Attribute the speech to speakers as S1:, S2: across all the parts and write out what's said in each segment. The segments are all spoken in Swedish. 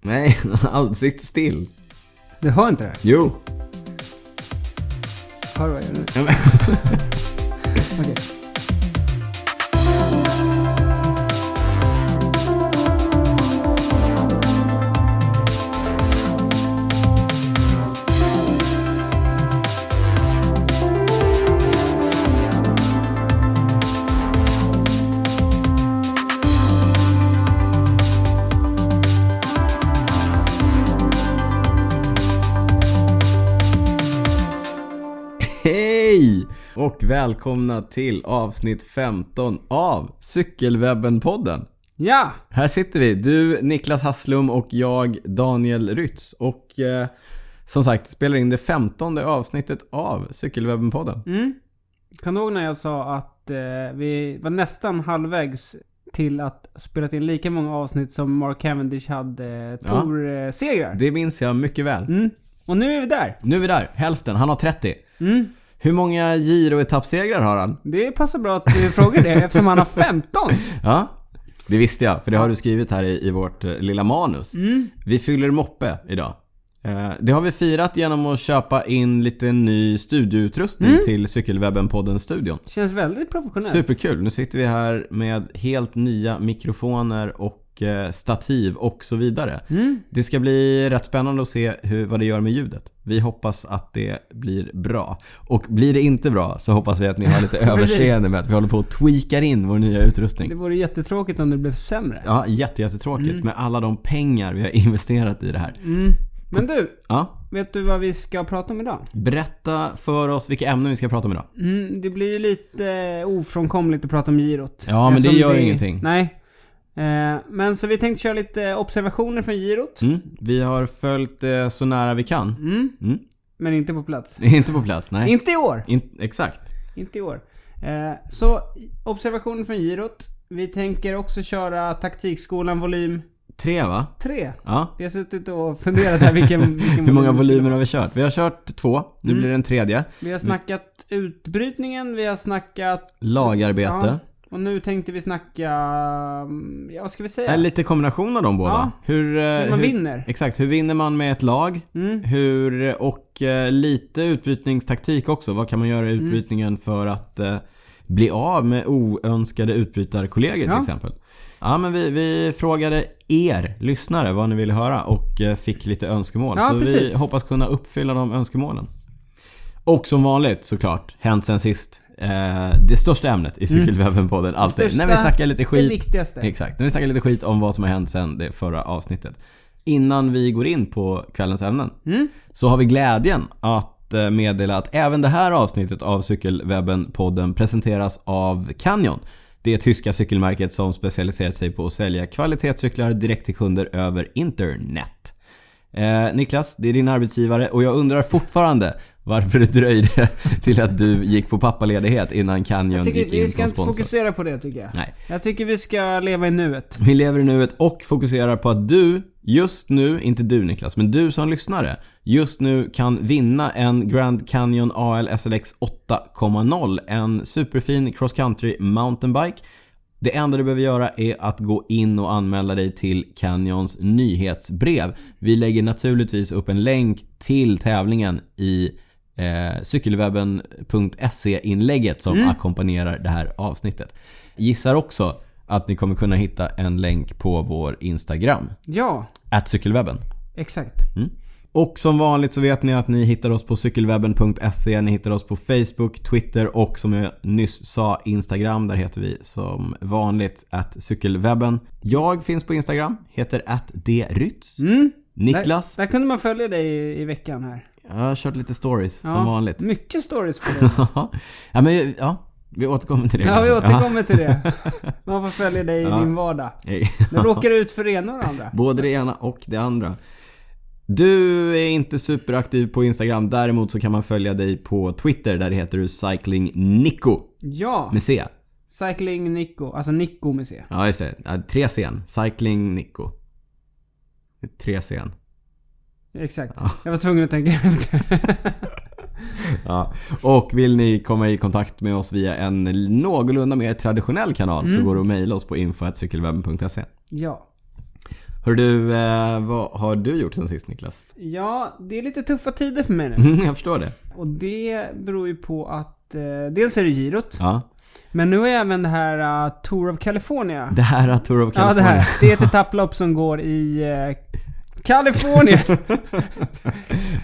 S1: Nej, ansiktet still.
S2: Du hör inte det?
S1: Jo.
S2: Hör du vad jag gör nu?
S1: Ja, men-
S2: Okej.
S1: Hej! Och välkomna till avsnitt 15 av Cykelwebben-podden.
S2: Ja!
S1: Här sitter vi, du Niklas Hasslum och jag Daniel Rytz. Och eh, som sagt, spelar in det 15 avsnittet av Cykelwebben-podden.
S2: Mm. Kan du ihåg när jag sa att eh, vi var nästan halvvägs till att spela in lika många avsnitt som Mark Cavendish hade eh, Tor-segrar?
S1: Det minns jag mycket väl.
S2: Mm. Och nu är vi där!
S1: Nu är vi där, hälften. Han har 30.
S2: Mm.
S1: Hur många Giro-etappsegrar har han?
S2: Det passar bra att du frågar det eftersom han har 15!
S1: Ja, det visste jag. För det har du skrivit här i, i vårt eh, lilla manus. Vi fyller moppe idag. Eh, Det har vi firat genom att köpa in lite ny studioutrustning till Cykelwebben-podden-studion.
S2: Känns väldigt professionellt.
S1: Superkul! Nu sitter vi här med helt nya mikrofoner och eh, stativ och så vidare. Det ska bli rätt spännande att se hur, vad det gör med ljudet. Vi hoppas att det blir bra. Och blir det inte bra så hoppas vi att ni har lite överseende med att vi håller på och tweakar in vår nya utrustning.
S2: Det vore jättetråkigt om det blev sämre.
S1: Ja, jätte, jättetråkigt
S2: Mm.
S1: med alla de pengar vi har investerat i det här.
S2: Men du,
S1: Ja,
S2: vet du vad vi ska prata om idag?
S1: berätta för oss vilka ämnen vi ska prata om idag.
S2: Mm, det blir ju lite eh, ofrånkomligt att prata om girot.
S1: Ja, men det
S2: Eftersom
S1: gör
S2: vi-
S1: ingenting.
S2: Nej. Eh, men så vi tänkte köra lite observationer från girot.
S1: Mm. Vi har följt det så nära vi kan.
S2: Mm,
S1: Mm.
S2: men inte på plats.
S1: Det är Inte på plats, nej.
S2: Inte i år!
S1: In- exakt.
S2: Inte i år. Eh, så, observationer från girot. Vi tänker också köra taktikskolan volym
S1: Tre va?
S2: 3.
S1: Ja.
S2: Vi har suttit och funderat här vilken, vilken
S1: Hur många
S2: volym vi skulle
S1: volymer har vi kört? Vi har kört två, nu
S2: Mm.
S1: blir det en tredje.
S2: Vi har snackat utbrytningen, vi har snackat...
S1: Lagarbete.
S2: Ja, och nu tänkte vi snacka... mm, Ja, vad ska vi säga?
S1: Äh, Lite kombination av de båda.
S2: Ja.
S1: Hur, eh,
S2: Hur man vinner.
S1: Exakt, hur vinner man med ett lag?
S2: Mm.
S1: Hur, och eh, lite utbrytningstaktik också. Vad kan man göra i
S2: Mm.
S1: utbrytningen för att eh, bli av med oönskade utbrytarkollegor
S2: Ja.
S1: till exempel? Ja, men vi, vi frågade er lyssnare vad ni ville höra och eh, fick lite önskemål.
S2: Ja,
S1: så vi
S2: precis.
S1: hoppas kunna uppfylla de önskemålen. Och som vanligt såklart, hänt sen sist. Eh, det största ämnet i Cykelwebben-podden alltid.
S2: Mm. Största,
S1: när vi snackar lite
S2: Det
S1: skit
S2: viktigaste.
S1: Exakt. Nu snackar vi lite skit om vad som har hänt sen det förra avsnittet. Innan vi går in på kvällens ämnen
S2: Mm.
S1: så har vi glädjen att eh, meddela att även det här avsnittet av Cykelwebben-podden presenteras av Canyon. Det tyska cykelmärket som specialiserat sig på att sälja kvalitetscyklar direkt till kunder över internet. Eh, Niklas, det är din arbetsgivare och jag undrar fortfarande varför det dröjde till att du gick på pappaledighet innan Canyon
S2: Jag tycker,
S1: gick in
S2: vi
S1: som
S2: ska inte
S1: sponsor.
S2: fokusera på det tycker jag.
S1: Nej.
S2: Jag tycker vi ska leva i nuet.
S1: Vi lever i nuet och fokuserar på att du just nu, inte du Niklas, men du som lyssnare just nu kan vinna en Grand Canyon AL SLX 8.0. En superfin cross country mountainbike. Det enda du behöver göra är att gå in och anmäla dig till Canyons nyhetsbrev. Vi lägger naturligtvis upp en länk till tävlingen i eh, cykelwebben.se-inlägget E som ackompanjerar det här avsnittet. Gissar också att ni kommer kunna hitta en länk på vår Instagram,
S2: Ja,
S1: att cykelwebben.
S2: exakt.
S1: Och som vanligt så vet ni att ni hittar oss på cykelwebben.se, ni hittar oss på Facebook, Twitter och som jag nyss sa Instagram. Där heter vi som vanligt att cykelwebben. Jag finns på Instagram, heter att drytz.
S2: Mm.
S1: Niklas,
S2: Där kunde man följa dig i, i veckan här.
S1: jag har kört lite stories
S2: Ja,
S1: som vanligt.
S2: Mycket stories på det.
S1: ja, men, ja, vi återkommer till det.
S2: Ja, vi
S1: kanske.
S2: återkommer till det. Man får följa dig i din vardag.
S1: Ja.
S2: Nu råkar du ut för det ena och det andra.
S1: Både det ena och det andra. Du är inte superaktiv på Instagram. Däremot så kan man följa dig på Twitter där det heter du cyclingnico
S2: Ja,
S1: med C.
S2: Cycling Nico. Alltså Nico med C.
S1: Ja, just det. Ja, Tre C. Cyclingnico. Tre C.
S2: Exakt. Jag var tvungen att tänka efter.
S1: Ja. Och vill ni komma i kontakt med oss via en
S2: Mm.
S1: någorlunda mer traditionell kanal så går det att mejla oss på info.cykelwebben.se.
S2: Ja.
S1: Hör du, eh, vad har du gjort sen sist Niklas?
S2: Ja, det är lite tuffa tider för mig nu.
S1: Mm, jag förstår det.
S2: Och det beror ju på att eh, dels är det girot,
S1: Ja.
S2: men nu är även det här eh, Tour of California.
S1: Det här är Tour of
S2: Ja, det
S1: California.
S2: här. Det är ett etapplopp som går i eh, Kalifornien.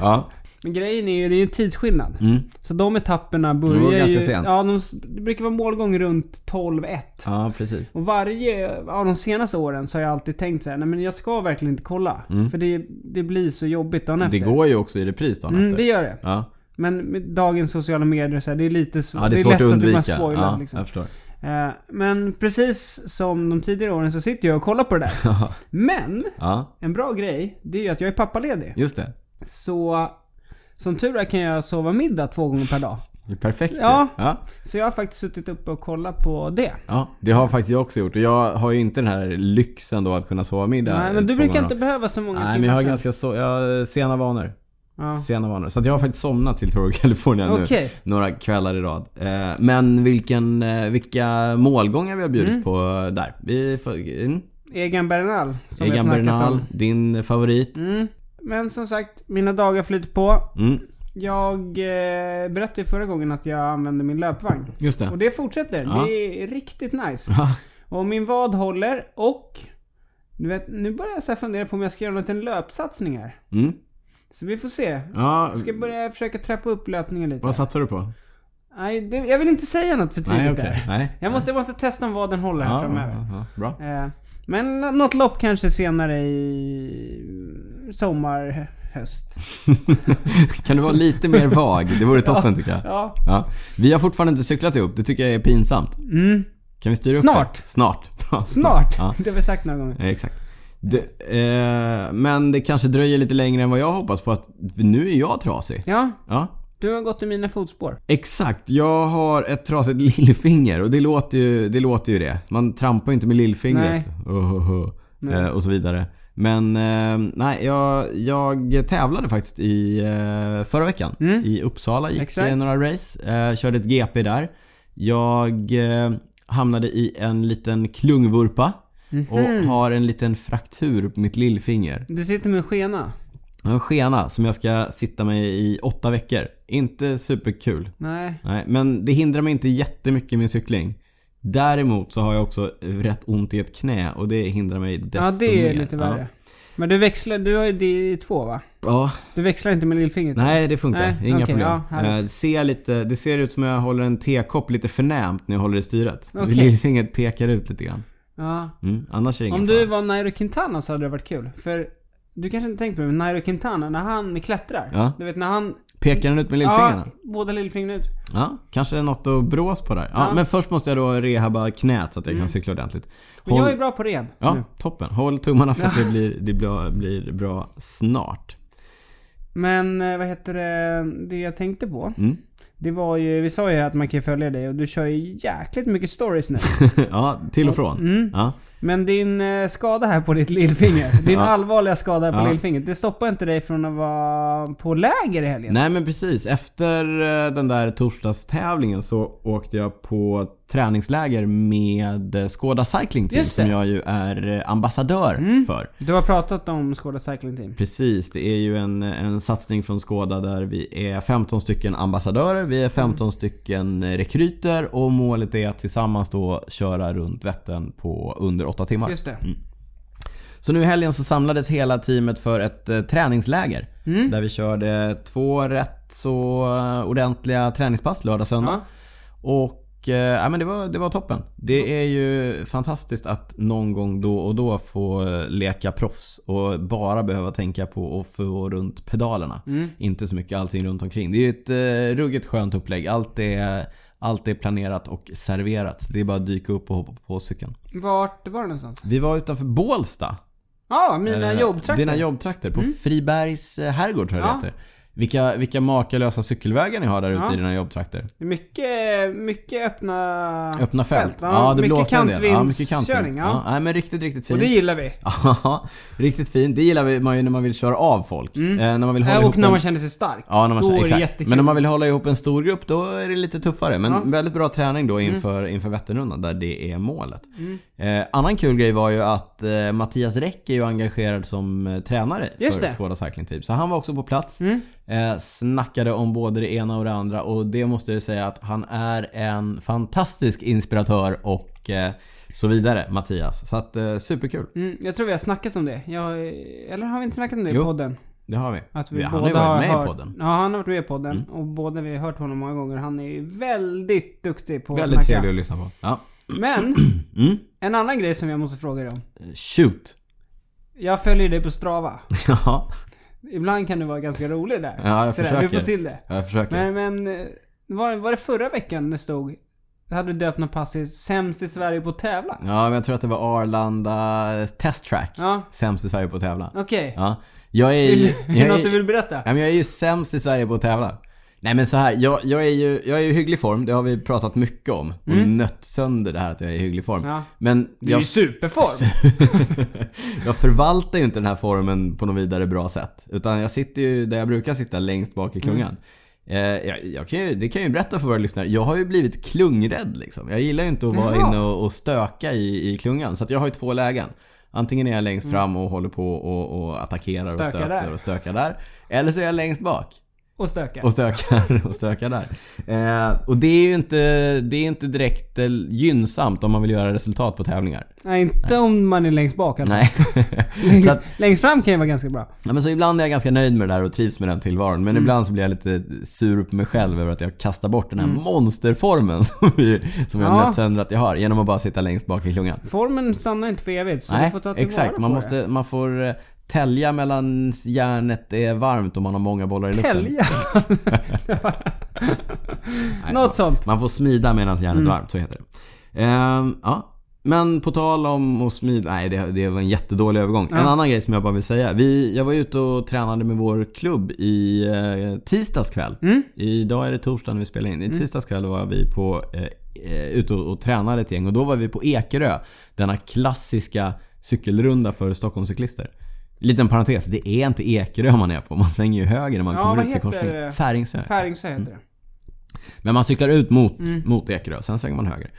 S1: Ja.
S2: Men grejen är ju, det är ju en tidsskillnad.
S1: Mm.
S2: Så de etapperna
S1: De går
S2: börjar
S1: ganska
S2: ju...
S1: sent.
S2: Ja, de, det brukar vara målgång runt 12-1.
S1: ja, precis.
S2: Och varje av de senaste åren så har jag alltid tänkt så här, nej men jag ska verkligen inte kolla. För det, det blir så jobbigt dagen efter.
S1: Mm. Det går ju också i repris dagen
S2: mm,
S1: efter.
S2: det gör det.
S1: Ja.
S2: Men med dagens sociala medier så här, det är lite svårt.
S1: ja, det är svårt att
S2: lätt
S1: undvika.
S2: att det blir spoilat
S1: ja,
S2: liksom.
S1: jag förstår.
S2: Eh, Men precis som de tidigare åren så sitter jag och kollar på det där. Men!
S1: Ja,
S2: En bra grej, det är ju att jag är pappaledig.
S1: just det.
S2: Så som tur är kan jag sova middag två gånger per dag.
S1: Det är perfekt ju.
S2: Ja.
S1: ja.
S2: Så jag har faktiskt suttit uppe och kollat på det.
S1: Ja, det har faktiskt jag också gjort. Och jag har ju inte den här lyxen då att kunna sova middag.
S2: Nej, men du
S1: två
S2: brukar
S1: gånger
S2: inte
S1: om.
S2: behöva så många
S1: Nej,
S2: timmar
S1: men jag har
S2: sen.
S1: ganska so- jag har sena vanor.
S2: Ja.
S1: Sena vanor. Så att jag har faktiskt somnat till Tour of California nu.
S2: Okej.
S1: Några kvällar i rad. Eh, Men vilken, eh, vilka målgångar vi har bjudit
S2: Mm.
S1: på där. Vi får, mm.
S2: Egan Bernal, som vi har
S1: Egan
S2: snackat
S1: Bernal,
S2: om.
S1: din favorit.
S2: Mm. Men som sagt, mina dagar flyter på.
S1: Mm.
S2: Jag eh, berättade ju förra gången att jag använde min löpvagn.
S1: Just
S2: Och
S1: det.
S2: det fortsätter.
S1: Ja.
S2: Det är riktigt nice.
S1: Ja.
S2: Och min vad håller och... Du vet, nu börjar jag så här fundera på om jag ska göra en liten löpsatsning här.
S1: Mm.
S2: Så vi får se.
S1: Ja,
S2: Jag ska börja försöka trappa upp löpningen lite.
S1: vad satsar du på?
S2: Nej, det, jag vill inte säga något för tidigt
S1: Nej, okej.
S2: där.
S1: Nej.
S2: Jag måste, jag måste testa om vad den håller här
S1: Ja,
S2: framöver.
S1: ja, ja, bra.
S2: Eh, Men nå- något lopp kanske senare i sommar, höst.
S1: Kan du vara lite mer vag? Det vore toppen tycker jag.
S2: Ja.
S1: Ja. Vi har fortfarande inte cyklat ihop. Det tycker jag är pinsamt.
S2: Mm.
S1: Kan vi styra upp
S2: Snart.
S1: det? Snart. Bra,
S2: Snart!
S1: Ja,
S2: Det har vi sagt några gånger.
S1: eh, exakt. Du, eh, men det kanske dröjer lite längre än vad jag hoppas på att nu är jag trasig.
S2: Ja,
S1: Ja.
S2: du har gått i mina fotspår.
S1: Exakt. Jag har ett trasigt lillfinger och det låter ju det. Låter ju det. Man trampar ju inte med lillfingret. Oh, oh, oh. Eh, och så vidare. Men eh, nej, jag, jag tävlade faktiskt i eh, förra veckan. I Uppsala gick
S2: Exakt.
S1: eh, några race. Eh, körde ett GP där. Jag eh, hamnade i en liten klungvurpa. Och har en liten fraktur på mitt lillfinger.
S2: Du sitter med en skena.
S1: Jag har En skena som jag ska sitta med i åtta veckor. Inte superkul.
S2: Nej.
S1: Nej, men det hindrar mig inte jättemycket i min cykling. Däremot så har jag också rätt ont i ett knä och det hindrar mig desto mer.
S2: Ja, det är lite värre.
S1: Ja.
S2: Men du växlar, du har ju det i två va?
S1: Ja,
S2: Du växlar inte med lillfingret?
S1: nej det funkar.
S2: Nej,
S1: Inga
S2: okej,
S1: problem.
S2: ja, härligt.
S1: Eh, det, ser lite, det ser ut som jag håller en tekopp lite förnämt när jag håller i styret.
S2: Okej.
S1: Lillfingret pekar ut lite grann.
S2: Ja.
S1: Mm, annars är det ingen
S2: Om du
S1: fara.
S2: var Nairo Quintana så hade det varit kul. För du kanske inte tänkt på det, men Nairo Quintana, när han klättrar.
S1: Ja.
S2: Du vet när han...
S1: Pekar den ut med lillfingrarna? Ja.
S2: Ja, båda lillfingrarna ut.
S1: kanske är något att brås på där. Ja, Men först måste jag då rehabba knät så att jag kan cykla ordentligt.
S2: Men
S1: Håll-
S2: Mm. jag är bra på rehab.
S1: Ja,
S2: nu.
S1: toppen. Håll tummarna för att det, blir, det blir, blir bra snart.
S2: Men eh, vad heter det, det jag tänkte på.
S1: Mm.
S2: Det var ju, vi sa ju att man kan följa dig och du kör ju jäkligt mycket stories nu.
S1: ja, till och från.
S2: Mm.
S1: Ja.
S2: Men din eh, skada här på ditt lillfinger, din
S1: Ja.
S2: allvarliga skada här på
S1: Ja.
S2: lillfingret, det stoppar inte dig från att vara på läger i helgen?
S1: Nej men precis. Efter eh, den där torsdagstävlingen så åkte jag på träningsläger med eh, Skåda Cycling Team
S2: Just det. Mm.
S1: som jag ju är eh, ambassadör för.
S2: Du har pratat om Skåda Cycling Team.
S1: Precis, det är ju en, en satsning från Skåda där vi är 15 stycken ambassadörer, vi är 15
S2: Mm.
S1: stycken rekryter och målet är att tillsammans då köra runt Vättern på under 8 timmar.
S2: Just det.
S1: Så nu i helgen så samlades hela teamet för ett eh, träningsläger. Där vi körde två rätt så eh, ordentliga träningspass lördag söndag. Och eh, ja, men det, var, det var toppen. Det är ju fantastiskt att någon gång då och då få eh, leka proffs och bara behöva tänka på att få runt pedalerna. Inte så mycket allting runt omkring. Det är ju ett eh, ruggigt skönt upplägg. Allt är, allt är planerat och serverat. Så det är bara att dyka upp och hoppa på cykeln.
S2: Vart var det någonstans?
S1: Vi var utanför Bålsta
S2: Ja, mina
S1: Eh,
S2: jobbtrakter. Mm.
S1: Dina jobbtrakter. På Fribergs eh, herrgård tror jag det
S2: Ja.
S1: heter. Vilka, vilka makalösa cykelvägar ni har där ute
S2: Ja.
S1: i dina jobbtrakter.
S2: Det är Mycket, mycket öppna...
S1: Öppna fält.
S2: Ja,
S1: det
S2: mycket
S1: blåste en del. Ja, mycket
S2: kantvindskörning.
S1: kantvind.
S2: Ja.
S1: Ja, nej, men riktigt, riktigt
S2: Och
S1: fint.
S2: det gillar vi.
S1: Ja, riktigt fint. Det gillar man ju när man vill köra av folk. Eh, när man vill hålla
S2: Äh,
S1: ihop
S2: och när
S1: en-
S2: man känner sig stark.
S1: Ja, när man,
S2: då är det
S1: exakt.
S2: jättekul.
S1: Men när man vill hålla ihop en stor grupp då är det lite tuffare. Men väldigt bra träning då
S2: Mm.
S1: inför, inför Vätternrundan där det är målet. Eh, annan kul grej var ju att eh, Mattias Räck är ju engagerad som eh, tränare
S2: Just
S1: för
S2: det. Mm.
S1: Skåda Cycling Team. Så han var också på plats. Eh, snackade om både det ena och det andra och det måste jag säga att han är en fantastisk inspiratör och eh, så vidare, Mattias. Så att eh, superkul.
S2: Mm, jag tror vi har snackat om det. Jag, eller har vi inte snackat om det i
S1: Jo.
S2: podden?
S1: Det har vi.
S2: Att
S1: vi
S2: vi
S1: han har ju
S2: båda
S1: varit med
S2: hört,
S1: i podden. Mm.
S2: Ja, han har varit med i podden. Och båda vi har hört honom många gånger. Han är ju väldigt duktig på
S1: Väldigt
S2: att snacka.
S1: trevlig att lyssna på. Ja.
S2: Men,
S1: Mm.
S2: en annan grej som jag måste fråga dig om.
S1: Shoot!
S2: Jag följer ju dig på Strava.
S1: Ja.
S2: Ibland kan du vara ganska rolig där.
S1: Ja, jag
S2: du
S1: försöker.
S2: får till det.
S1: Jag försöker.
S2: Men, men eh, var, var det förra veckan det stod... Hade du döpt något pass till Sämst i Sverige på att tävla?
S1: Ja, men jag tror att det var Arlanda Test Track.
S2: Ja.
S1: Sämst i Sverige på att tävla.
S2: Okej.
S1: Ja. Jag är ju...
S2: Är det
S1: Jag
S2: något du
S1: är,
S2: vill berätta?
S1: ja, men jag är ju sämst i Sverige på att tävla. Nej men så här, jag, jag är ju jag är ju i hygglig form. Det har vi pratat mycket om. Och nött sönder det här att jag är i hygglig form.
S2: Mm. Ja.
S1: Men
S2: Du är
S1: jag,
S2: i superform.
S1: jag förvaltar ju inte den här formen på något vidare bra sätt. Utan jag sitter ju där jag brukar sitta, längst bak i klungan.
S2: Mm.
S1: Eh, jag, jag kan ju, det kan jag ju berätta för våra lyssnare. Jag har ju blivit klungrädd liksom. Jag gillar ju inte att vara
S2: Jaha.
S1: inne och, och stöka i, i klungan. Så att jag har ju två lägen. Antingen är jag längst fram och håller på och, och attackerar och
S2: Mm. Stökar
S1: stöter
S2: där.
S1: och stökar där. Eller så är jag längst bak
S2: Och stökar.
S1: och stökar och stökar där. Eh, och det är ju inte, det är inte direkt eh, gynnsamt om man vill göra resultat på tävlingar.
S2: Nej, inte om man är längst bak alltså.
S1: Nej.
S2: längst,
S1: så att,
S2: längst fram kan ju vara ganska bra.
S1: Ja, men så ibland är jag ganska nöjd med det där och trivs med den tillvaron.
S2: Mm.
S1: Men ibland så blir jag lite sur på mig själv över att jag kastar bort den här monsterformen som, vi, som jag
S2: Mm. Ja.
S1: nött sönder att jag har genom att bara sitta längst bak i klungan.
S2: Formen stannar inte för evigt, så du
S1: Nej,
S2: får ta tillvara
S1: exakt.
S2: på
S1: Man,
S2: det.
S1: måste, man får eh, tälja mellan järnet är varmt om man har många bollar i luften.
S2: Tälja.
S1: Nej,
S2: Något sånt.
S1: Man får smida medan järnet
S2: Mm.
S1: är varmt, så heter det. Ehm, ja. Men på tal om att smida... Nej, det, det var en jättedålig övergång. En annan grej som jag bara vill säga. Vi, jag var ute och tränade med vår klubb i eh, tisdags kväll.
S2: Mm.
S1: Idag är det torsdag när vi spelar in. I tisdags kväll var vi på, eh, eh, ute och, och tränade ett gäng och då var vi på Ekerö. Denna klassiska cykelrunda för Stockholmscyklister. Liten parentes, det är inte Ekerö man är på. Man svänger ju höger när man
S2: Ja,
S1: kommer ut
S2: vad
S1: till
S2: heter
S1: korsningen.
S2: det?
S1: Färingsö.
S2: Färingsö heter det.
S1: Men man cyklar ut mot,
S2: Mm.
S1: mot Ekerö, sen svänger man höger.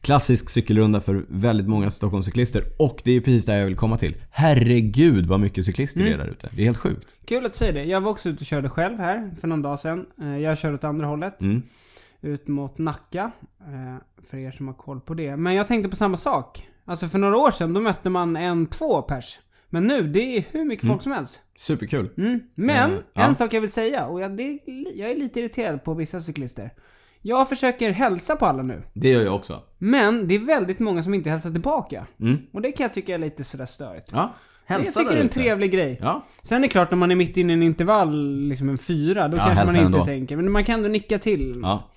S1: Klassisk cykelrunda för väldigt många Stockholmscyklister och det är precis där jag vill komma till. Herregud vad mycket cyklister det
S2: Mm.
S1: är där ute. Det är helt sjukt.
S2: Kul att du säger det. Jag var också ute och körde själv här för någon dag sedan. Eh, Jag körde åt andra hållet.
S1: Mm.
S2: Ut mot Nacka. eh, För er som har koll på det. Men jag tänkte på samma sak. Alltså för några år sedan, då mötte man en, två pers. Men nu, det är hur mycket folk som helst.
S1: Superkul.
S2: Mm. Men,
S1: Mm. Eh, ja.
S2: en sak jag vill säga och jag, det, är li- jag är lite irriterad på vissa cyklister. Jag försöker hälsa på alla nu.
S1: Det gör jag också.
S2: Men det är väldigt många som inte hälsar tillbaka.
S1: Mm.
S2: Och det kan jag tycka är lite sådär störigt.
S1: Ja, hälsa
S2: jag tycker
S1: där
S2: det är en
S1: ute.
S2: trevlig grej.
S1: Ja.
S2: Sen är det klart, när man är mitt inne i en intervall, liksom en fyra, då
S1: Ja,
S2: kanske man
S1: hälsa
S2: inte
S1: ändå.
S2: tänker. Men man kan ändå nicka till.
S1: ja.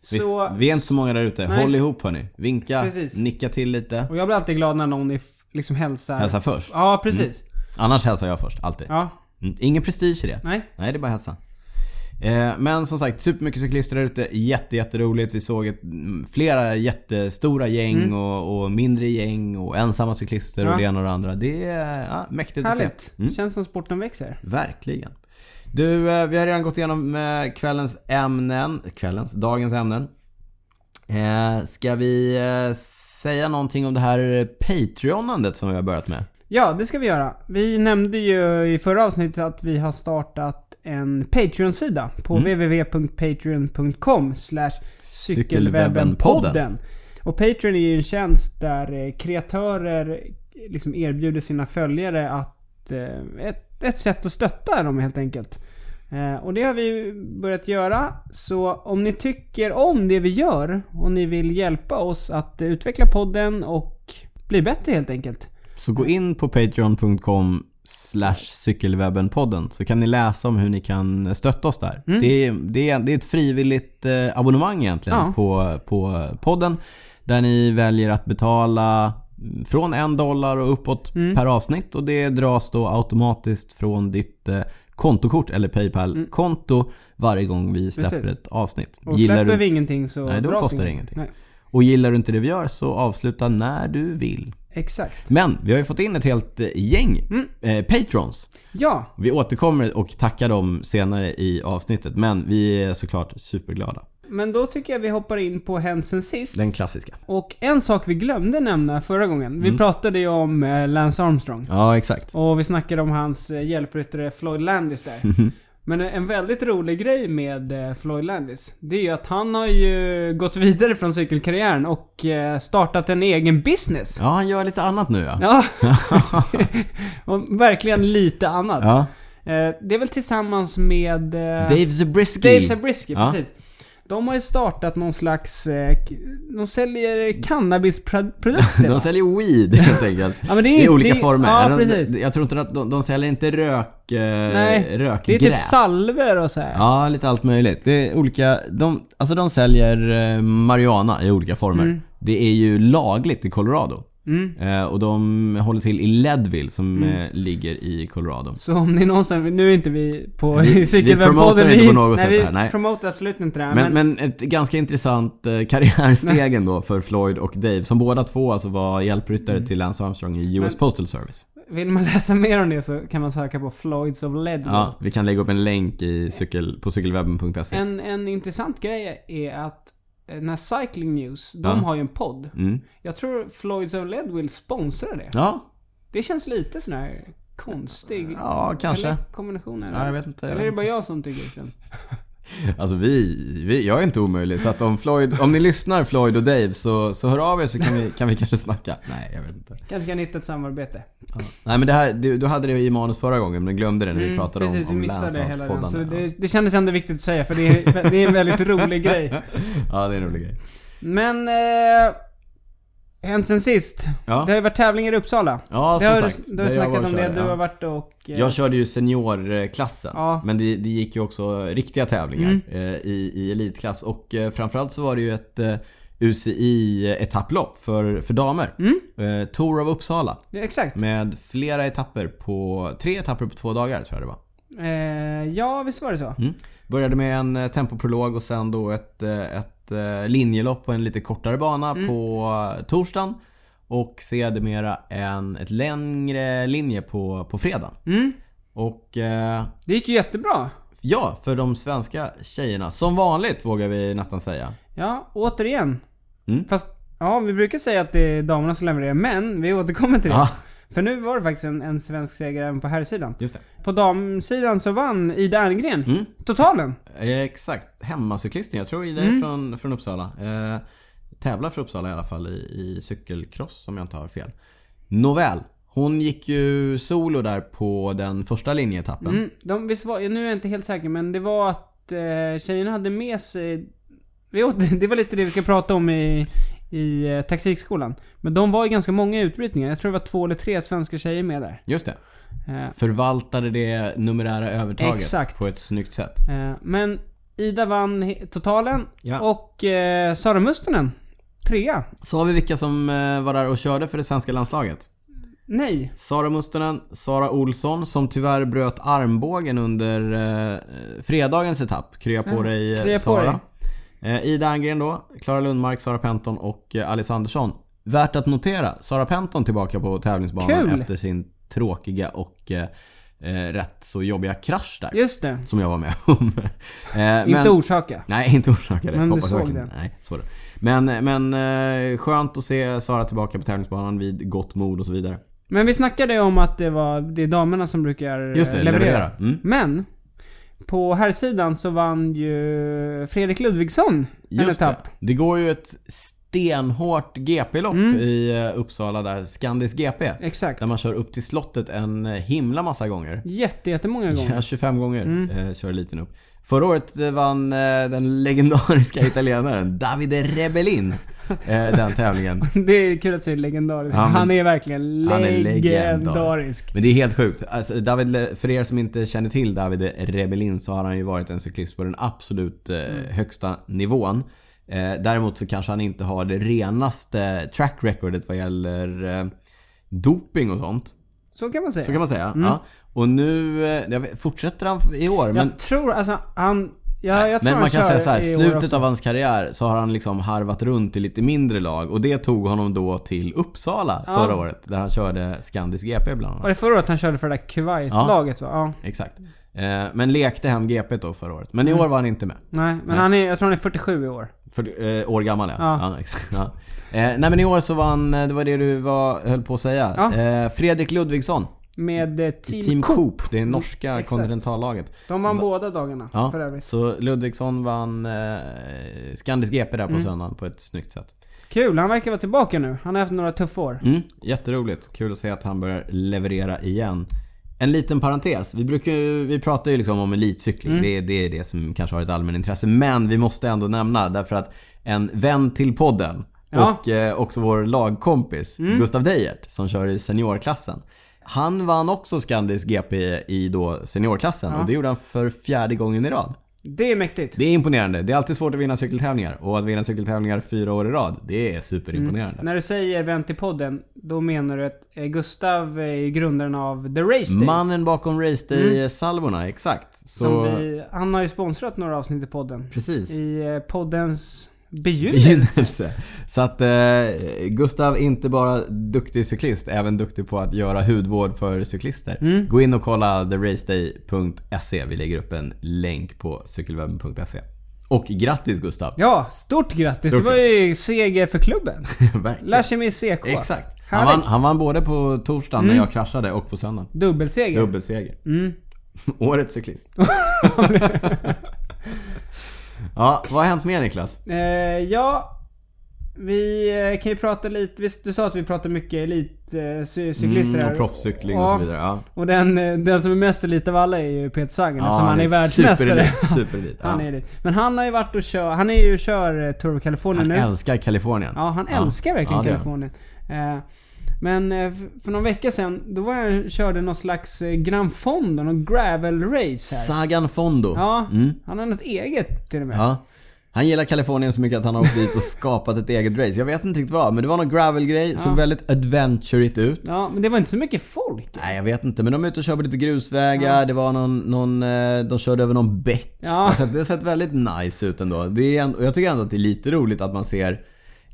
S2: så,
S1: Visst, vi är inte så många där ute.
S2: Nej.
S1: Håll ihop hörni. Vinka,
S2: Precis.
S1: nicka till lite.
S2: Och jag blir alltid glad när någon är f- liksom hälsar.
S1: Hälsa först.
S2: Ja, precis.
S1: Mm. Annars hälsar jag först, alltid.
S2: Ja.
S1: Mm, Ingen prestige i det.
S2: Nej.
S1: Nej, det är bara hälsa. Eh, Men som sagt, supermycket cyklister där ute. Jätte, jätteroligt. Vi såg ett, mm, flera jättestora gäng och, och mindre gäng och ensamma cyklister och
S2: Mm. Ja.
S1: det ena och det andra. Det är ja, mäktigt att se. Mm.
S2: Härligt. Känns som sporten växer.
S1: Verkligen. Du, eh, vi har redan gått igenom eh, kvällens ämnen. Kvällens? Dagens ämnen. Eh, Ska vi eh, säga någonting om det här Patreonandet som vi har börjat med?
S2: Ja, det ska vi göra. Vi nämnde ju i förra avsnittet att vi har startat en Patreon-sida på www.patreon.com cykelwebbenpodden. Och Patreon är ju en tjänst där eh, kreatörer liksom erbjuder sina följare att eh, ett, ett sätt att stötta dem helt enkelt. Eh, Och det har vi ju börjat göra. Så om ni tycker om det vi gör och ni vill hjälpa oss att eh, utveckla podden och bli bättre helt enkelt.
S1: Så gå in på patreon.com slash cykelwebbenpodden så kan ni läsa om hur ni kan stötta oss där.
S2: Mm.
S1: Det, är, det, är, det är ett frivilligt eh, abonnemang egentligen
S2: Ja.
S1: på, på podden där ni väljer att betala
S2: Mm.
S1: från en dollar och uppåt per avsnitt och det dras då automatiskt från ditt eh, kontokort eller Paypal-konto varje gång vi släpper
S2: Mm. Precis.
S1: ett avsnitt.
S2: Och
S1: gillar
S2: släpper
S1: du,
S2: vi ingenting så
S1: Nej, då
S2: dras
S1: kostar det ingenting.
S2: Nej,
S1: och gillar du inte det vi gör så avsluta när du vill.
S2: exakt.
S1: Men vi har ju fått in ett helt eh, gäng
S2: Mm.
S1: eh, patrons.
S2: Ja,
S1: Vi återkommer och tackar dem senare i avsnittet men vi är såklart superglada.
S2: men då tycker jag vi hoppar in på hänt sen sist.
S1: Den klassiska.
S2: Och en sak vi glömde nämna förra gången.
S1: Mm.
S2: Vi pratade ju om eh, Lance Armstrong.
S1: Ja, exakt.
S2: Och vi snackade om hans eh, hjälpryttare Floyd Landis där. Men eh, en väldigt rolig grej med eh, Floyd Landis, det är ju att han har ju gått vidare från cykelkarriären och eh, startat en egen business.
S1: Ja, han gör lite annat nu ja.
S2: Ja. och verkligen lite annat.
S1: Ja.
S2: Eh, Det är väl tillsammans med... eh,
S1: Dave Zabriskie.
S2: Dave Zabriskie,
S1: Ja.
S2: precis. De har ju startat någon slags... eh, k- De säljer cannabisprodukter
S1: De
S2: va?
S1: säljer weed helt enkelt.
S2: Ja, men det är-
S1: I olika
S2: det är-
S1: former.
S2: ja,
S1: De-
S2: precis.
S1: jag tror inte att de, de säljer inte rök, eh,
S2: Nej,
S1: rökgräs.
S2: Det är typ salver och så här.
S1: Ja, lite allt möjligt. Det är olika, de, alltså de säljer eh, marijuana i olika former. Det är ju lagligt i Colorado. Eh, och de håller till i Leadville som eh, ligger i Colorado.
S2: Så om ni någonsin, nu är inte vi på
S1: vi promotar
S2: cykelwebbpodden.
S1: inte på något
S2: nej,
S1: sätt
S2: vi
S1: här, nej.
S2: promotar absolut inte det här. Men,
S1: Men, men ett ganska intressant eh, karriärsteg ändå för Floyd och Dave som båda två alltså var hjälpryttare till Lance Armstrong i US Postal Service.
S2: vill man läsa mer om det så kan man söka på Floyds of Leadville.
S1: Ja, vi kan lägga upp en länk i cykel, på cykelwebben.se.
S2: En, en intressant grej är att eh, när Cycling News, de
S1: Ja.
S2: har ju en podd.
S1: Mm.
S2: Jag tror Floyds of Leadville sponsrar det.
S1: Ja,
S2: Det känns lite sån här konstig...
S1: ja kanske.
S2: Eller kombination eller?
S1: Ja, jag vet inte. Jag
S2: Eller
S1: vet
S2: är det
S1: inte.
S2: bara jag som tycker liksom? det?
S1: Alltså vi, vi, jag är inte omöjlig. Så att om, Floyd, om ni lyssnar Floyd och Dave så, så hör av er så kan vi, kan vi kanske snacka. Nej, jag vet inte.
S2: Kanske kan hitta ett samarbete.
S1: Ja. Nej men det här, du, du hade det i manus förra gången men glömde det när vi pratade
S2: Mm, Precis,
S1: om, om
S2: vi missade
S1: Lance och
S2: hela
S1: hans
S2: den. Så
S1: poddande.
S2: det, det kändes ändå viktigt att säga för det är, det är en väldigt rolig grej.
S1: Ja, det är en rolig grej.
S2: Men... Eh, hänt sen sist.
S1: Ja.
S2: Det har ju varit tävlingar i Uppsala.
S1: Ja,
S2: det
S1: som
S2: har,
S1: sagt.
S2: Du har
S1: Där jag var
S2: snackat
S1: och
S2: om det,
S1: körde,
S2: du
S1: ja.
S2: har varit och... eh,
S1: Jag körde ju seniorklassen.
S2: Ja. Mm.
S1: Men det, det gick ju också riktiga tävlingar eh, i, i elitklass. Och eh, framförallt så var det ju ett eh, UCI-etapplopp för, för damer.
S2: Mm.
S1: Eh, Tour av Uppsala.
S2: Exakt.
S1: Med flera etapper på... Tre etapper på två dagar tror jag det var.
S2: Eh, ja, visst var det så?
S1: Mm. Började med en eh, tempoprolog och sen då ett, eh, ett eh, linjelopp på en lite kortare bana på eh, torsdagen. Och sedermera en, ett längre linje på, på fredagen.
S2: Mm.
S1: Och eh,
S2: Det gick ju jättebra.
S1: ja, för de svenska tjejerna. Som vanligt vågar vi nästan säga.
S2: Ja, återigen.
S1: Mm.
S2: Fast, ja vi brukar säga att det är damerna som levererar, men vi återkommer till det.
S1: Ja.
S2: För nu var det faktiskt en, en svensk seger även på herrsidan.
S1: Just det.
S2: På damsidan så vann Ida Erngren
S1: Mm.
S2: totalen.
S1: Eh, Exakt. Hemmacyklisten. Jag tror
S2: Mm.
S1: Ida är från, från Uppsala. Eh, tävlar för Uppsala i alla fall i, i cykelcross om jag inte har fel. Nåväl. Hon gick ju solo där på den första linjeetappen.
S2: Mm. De, visst var, nu är jag inte helt säker, men det var att eh, tjejerna hade med sig... Vi åter, det var lite det vi ska prata om i, i eh, taktikskolan. Men de var ju ganska många i utbrytningar. Jag tror det var två eller tre svenska tjejer med där.
S1: Just det.
S2: Eh,
S1: Förvaltade det numerära övertaget
S2: Exakt.
S1: på ett snyggt sätt.
S2: Eh, Men Ida vann he- totalen
S1: Ja.
S2: och eh, Sara Mustonen trea.
S1: Sa vi vilka som eh, var där och körde för det svenska landslaget?
S2: Nej.
S1: Sara Mustonen, Sara Olsson som tyvärr bröt armbågen under eh, fredagens etapp. Krya på dig eh,
S2: krya på
S1: Sara. Eh, Ida Angren då, Klara Lundmark, Sara Penton och eh, Alice Andersson. Värt att notera, Sara Penton tillbaka på tävlingsbanan
S2: Kul!
S1: efter sin tråkiga och eh, eh, rätt så jobbiga krasch där.
S2: Just det.
S1: Som jag var med om. Eh,
S2: Inte orsaka.
S1: Nej, inte orsakade.
S2: Men du
S1: Hoppas jag
S2: såg
S1: verkligen. Nej, så var det. Men, men eh, skönt att se Sara tillbaka på tävlingsbanan vid gott mod och så vidare.
S2: Men vi snackade om att det var det är damerna som brukar eh,
S1: Just det, leverera. Mm.
S2: Men på herrsidan så vann ju Fredrik Ludvigsson en
S1: Just det.
S2: etapp.
S1: det går ju ett stenhårt GP-lopp i eh, Uppsala där, Skandis GP.
S2: Exakt.
S1: Där man kör upp till slottet en eh, himla massa gånger.
S2: Jätte, jättemånga gånger.
S1: Ja, 25 gånger eh, kör eliten upp. Förra året eh, vann eh, den legendariska italienaren Davide Rebellin eh, den tävlingen.
S2: Det är kul att säga legendarisk.
S1: Ja, men-
S2: han är verkligen
S1: Han är
S2: legendarisk.
S1: Men det är helt sjukt. Alltså, David, Le- för er som inte känner till David Rebellin så har han ju varit en cyklist på den absolut eh,
S2: Mm.
S1: högsta nivån. Eh, däremot så kanske han inte har det renaste track recordet vad gäller eh, doping och sånt.
S2: Så kan man säga.
S1: Så kan man säga.
S2: Mm.
S1: Ja. Och nu eh, jag vet, fortsätter han i år.
S2: jag
S1: men
S2: tror, alltså han... Ja, jag tror
S1: men
S2: han
S1: man kan
S2: kör
S1: säga så här,
S2: i år
S1: slutet
S2: också.
S1: av hans karriär så har han liksom harvat runt i lite mindre lag och det tog honom då till Uppsala förra året där han körde Scandisk GP bland annat.
S2: Var det förra året han körde för det där Kuwait-laget va? Ja.
S1: Exakt. Eh, men lekte hem GP då förra året. Men i
S2: Mm.
S1: år var han inte med.
S2: Nej, men han är, jag tror han är 47 i år.
S1: För, eh, år gammal ja.
S2: Ja.
S1: ja. exakt. Ja. Eh, nej men i år så vann, eh, det var det du var, höll på att säga.
S2: Ja.
S1: Eh, Fredrik Ludvigsson.
S2: Med eh, Team,
S1: Team,
S2: Coop. Mm,
S1: Coop. Det norska
S2: exakt.
S1: kontinentallaget.
S2: De vann båda dagarna
S1: Ja,
S2: för övrigt.
S1: så Ludvigsson vann eh, Scandisk GP där på
S2: Mm.
S1: söndagen på ett snyggt sätt.
S2: Kul, han verkar vara tillbaka nu. Han har haft några tuffa år.
S1: Mm, jätteroligt. Kul att se att han börjar leverera igen. En liten parentes. Vi, brukar, ju- vi pratar ju liksom om elitcykling. Det, är- det är det som kanske har ett allmänintresse. Men vi måste ändå nämna därför att en vän till podden
S2: Ja.
S1: och eh, också vår lagkompis Gustav Deijert som kör i seniorklassen. Han vann också Scandisk GP i då seniorklassen och det gjorde han för fjärde gången i rad.
S2: Det är mäktigt.
S1: Det är imponerande. Det är alltid svårt att vinna cykeltävlingar och att vinna cykeltävlingar fyra år i rad, det är superimponerande.
S2: När du säger vän till podden, då menar du att eh, Gustav är ju grundaren av The Race Day. Mm.
S1: Mannen bakom Race Day-salvorna, exakt. Så,
S2: som vi, han har ju sponsrat några avsnitt i podden.
S1: precis.
S2: I eh, poddens begynnelse.
S1: Begynnelse. Så att eh, Gustav är inte bara duktig cyklist, även duktig på att göra hudvård för cyklister.
S2: Mm.
S1: Gå in och kolla theraceday.se. Vi lägger upp en länk på cykelwebben.se. Och grattis Gustav!
S2: Ja, stort grattis!
S1: Stort
S2: det var ju seger för klubben.
S1: Verkligen.
S2: Lashemi CK.
S1: Exakt. Han
S2: Härligt. Mm.
S1: vann, han vann både på torsdagen när jag kraschade och på söndagen.
S2: Dubbelseger.
S1: Dubbelseger.
S2: Mm.
S1: Årets cyklist. ja, vad har hänt mer Niklas?
S2: Eh, ja, vi eh, kan ju prata lite. Visst, du sa att vi pratar mycket elitcyklister
S1: Mm,
S2: här.
S1: och proffscykling och
S2: Ja.
S1: så vidare. Ja.
S2: Och den, eh, den som är mest elit av alla är ju Peter Sagan
S1: Ja,
S2: eftersom han är, världsmästare.
S1: Superelit, superelit. Ja.
S2: han är elit. Men han har ju varit och kör, han är ju och kör eh, Tour of California
S1: Han
S2: nu.
S1: älskar Kalifornien.
S2: Ja, han älskar verkligen
S1: Ja, det gör han.
S2: Kalifornien. Eh, Men eh, f- för någon vecka sedan, då var jag körde någon slags eh, Grand Fondo, någon gravel race här.
S1: Sagan Fondo. Ja.
S2: Ja, han har något eget till och med.
S1: Han gillar Kalifornien så mycket att han har åkt dit och skapat ett eget race. Jag vet inte riktigt vad, men det var någon gravelgrej. Såg väldigt adventurigt ut.
S2: Ja, men det var inte så mycket folk.
S1: Nej, jag vet inte. Men de är ute och kör på lite grusvägar. Det var någon, någon... eh, De körde över någon bäck.
S2: Ja.
S1: Det har sett- det har sett väldigt nice ut ändå. Det är, en- och jag tycker ändå att det är lite roligt att man ser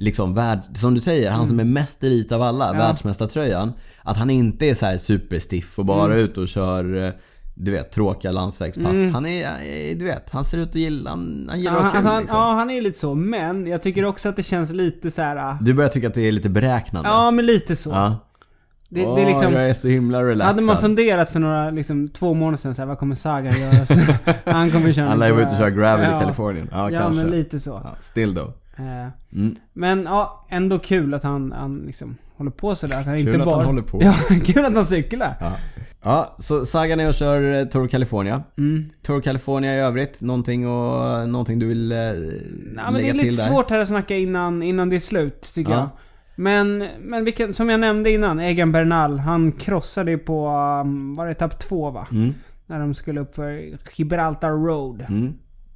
S1: Liksom värld, som du säger,
S2: Mm.
S1: han som är mest elit av alla, världsmästartröjan. Att han inte är så här superstiff och bara
S2: Mm.
S1: ute och kör eh, du vet, tråkiga landsvägspass. Han är, eh, du vet, han ser ut att gilla, han, han gillar
S2: Ja,
S1: att ha
S2: han,
S1: kul
S2: alltså han,
S1: liksom.
S2: ja, han är lite så, men jag tycker också att det känns lite så här. ah,
S1: Du börjar tycka att det är lite beräknande?
S2: Ja, men lite så.
S1: Ja.
S2: Det,
S1: Åh,
S2: det är liksom,
S1: jag är så himla relaxad.
S2: hade man funderat för några, liksom, två månader sedan så här, vad kommer Saga göra? Så, han kommer köra...
S1: Alla är ute och kör gravel
S2: Ja.
S1: i Kalifornien. Ja,
S2: Ja,
S1: kanske.
S2: men lite så.
S1: Ja, Mm. still though.
S2: Eh, Men ja, ändå kul att han, han liksom håller på sådär. Att han
S1: Kul
S2: inte
S1: att
S2: bara...
S1: han håller på.
S2: Ja, kul att han cyklar.
S1: Ja. ja, så Sagan är och kör eh, Tour of California.
S2: Mm.
S1: Tour of California i övrigt, någonting, och, någonting du vill eh,
S2: Ja, men det
S1: lägga
S2: är lite
S1: till där?
S2: svårt här att snacka innan, innan det är slut, tycker
S1: Ja.
S2: jag. Men, men vilken, som jag nämnde innan, Egan Bernal, han krossade ju på, um, var det etapp två va?
S1: Mm.
S2: När de skulle upp för Gibraltar Road.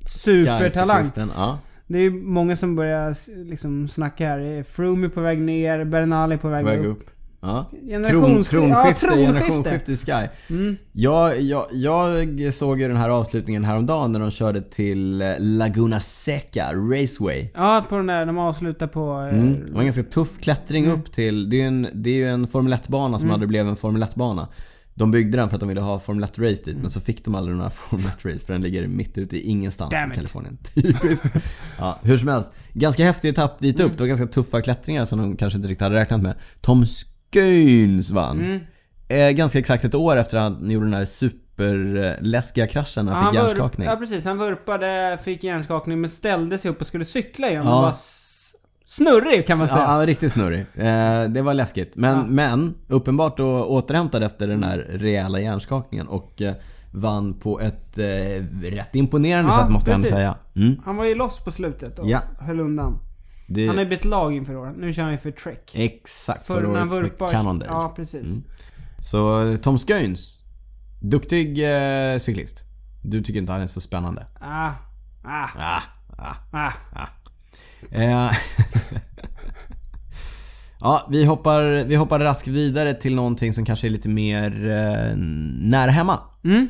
S2: Supertalang.
S1: Skycyklisten, Ja.
S2: Det är ju många som börjar s- liksom snacka här. Froome är på väg ner, Bernal är på väg,
S1: På väg
S2: upp.
S1: upp. Ja. Tron,
S2: Generations-
S1: tronskifte,
S2: ja, tronskifte. Mm.
S1: generationsskifte i Sky. Jag, jag, jag såg ju den här avslutningen häromdagen när de körde till eh, Laguna Seca Raceway.
S2: Ja, på den där, de avslutar på... eh,
S1: Mm. Det var en ganska tuff klättring
S2: Mm.
S1: upp till... Det är ju en, det är ju en Formel 1-bana som aldrig blev en Formel 1-bana. De byggde den för att de ville ha Formel 1-race dit,
S2: Mm.
S1: men så fick de aldrig några Formel 1-race för den ligger mitt ute i ingenstans
S2: Damn it.
S1: i Kalifornien. Typiskt. ja, hur som helst. Ganska häftig etapp dit
S2: Mm.
S1: upp. Det var ganska tuffa klättringar som de kanske inte riktigt hade räknat med. Tom Skynes vann.
S2: Mm.
S1: Eh, ganska exakt ett år efter att han gjorde den här superläskiga kraschen när han fick
S2: vurp-
S1: hjärnskakning.
S2: Ja precis, han vurpade, fick hjärnskakning men ställde sig upp och skulle cykla igen.
S1: Ja.
S2: Han var s- snurrig kan man
S1: Ja,
S2: säga.
S1: han var riktigt snurrig. Eh, det var läskigt. Men, men uppenbart då återhämtad efter den här rejäla hjärnskakningen och eh, vann på ett eh, rätt imponerande
S2: Ja,
S1: sätt måste jag ändå
S2: precis.
S1: säga. Mm.
S2: Han var ju loss på slutet och
S1: Ja.
S2: höll undan.
S1: Det,
S2: Han har ju bytt lag inför året. Nu kör han ju för Trek.
S1: Exakt,
S2: För
S1: förra
S2: när han
S1: årets Mm.
S2: vurpar...
S1: Cannondale.
S2: Ja, precis.
S1: Så eh, Tom Sköns. Duktig eh, cyklist. Du tycker inte han är så spännande?
S2: Ah, ah,
S1: Ah, ah.
S2: ah.
S1: Eh, Ja, vi hoppar, vi hoppar raskt vidare till någonting som kanske är lite mer eh, nära hemma.
S2: Mm.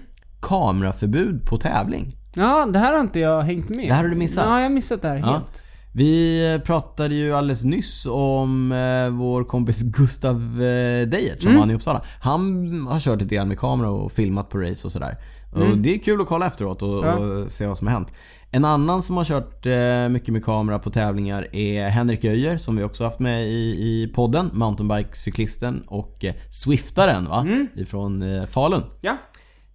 S1: Kameraförbud på tävling.
S2: Ja, det här har inte jag hängt med.
S1: Det här har du missat.
S2: Ja, jag har missat det här helt.
S1: Vi pratade ju alldeles nyss om eh, vår kompis Gustav eh, Deijert som
S2: Mm.
S1: vann i Uppsala. Han har kört lite grann med kamera och filmat på race och sådär. Och det är kul att kolla efteråt och,
S2: Mm. Ja.
S1: och se vad som har hänt. En annan som har kört eh, mycket med kamera på tävlingar är Henrik Öijer som vi också haft med i, i podden. Mountainbike-cyklisten och eh, Swiftaren va?
S2: Mm.
S1: Ifrån eh, Falun.
S2: Ja.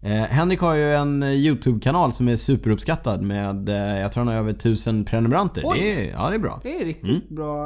S1: Eh, Henrik har ju en eh, YouTube-kanal som är superuppskattad med, eh, jag tror han har över 1000 prenumeranter.
S2: Oj.
S1: Det är, ja, det är bra.
S2: Det är riktigt bra.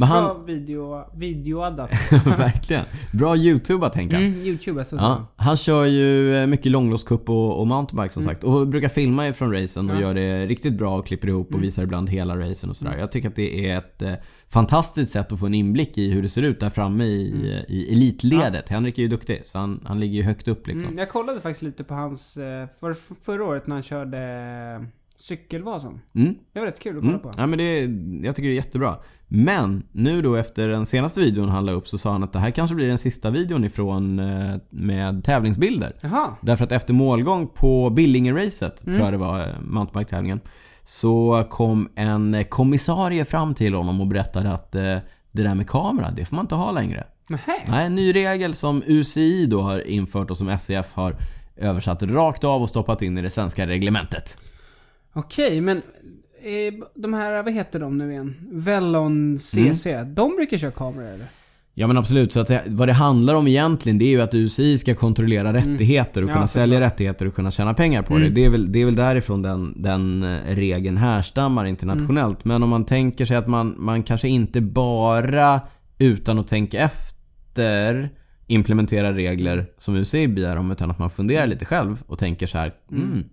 S1: Men Mm. han,
S2: Bra video, videoadap.
S1: verkligen. Bra YouTubat tänker jag.
S2: Mm, Youtube alltså.
S1: Ja, han kör ju eh, mycket långloppscup och, och mountainbike
S2: Mm.
S1: som sagt. Och brukar filma ifrån racen och gör det riktigt bra och klipper ihop och
S2: Mm.
S1: visar ibland hela racen och sådär. Jag tycker att det är ett eh, fantastiskt sätt att få en inblick i hur det ser ut där framme i,
S2: Mm.
S1: eh, i elitledet. Henrik är ju duktig så han, han ligger ju högt upp liksom.
S2: Mm, jag kollade faktiskt lite på hans... eh, För, för, förra året när han körde eh, Cykelvasan.
S1: Mm.
S2: Det var rätt kul att kolla på.
S1: Ja, men det, jag tycker det är jättebra. Men nu då efter den senaste videon han la upp så sa han att det här kanske blir den sista videon ifrån eh, med tävlingsbilder.
S2: Jaha.
S1: Därför att efter målgång på Billingeracet,
S2: Mm.
S1: tror jag det var, eh, mountainbike-tävlingen. Så kom en kommissarie fram till honom och berättade att eh, det där med kamera, det får man inte ha längre.
S2: Nähä.
S1: Nej, en ny regel som UCI då har infört och som SCF har översatt rakt av och stoppat in i det svenska reglementet.
S2: Okej, men... eh, De här, vad heter de nu igen? Velon CC.
S1: Mm.
S2: De brukar köra kameror eller?
S1: Ja men absolut, så att det, vad det handlar om egentligen det är ju att UCI ska kontrollera rättigheter och
S2: Mm. Ja,
S1: kunna
S2: såklart. Mm.
S1: sälja rättigheter och kunna tjäna pengar på det. Det är väl, det är väl därifrån den, den eh, regeln härstammar internationellt.
S2: Mm.
S1: Men om man tänker sig att man, man kanske inte bara utan att tänka efter implementerar regler som UCI begär om utan att man funderar lite själv och tänker så här mm.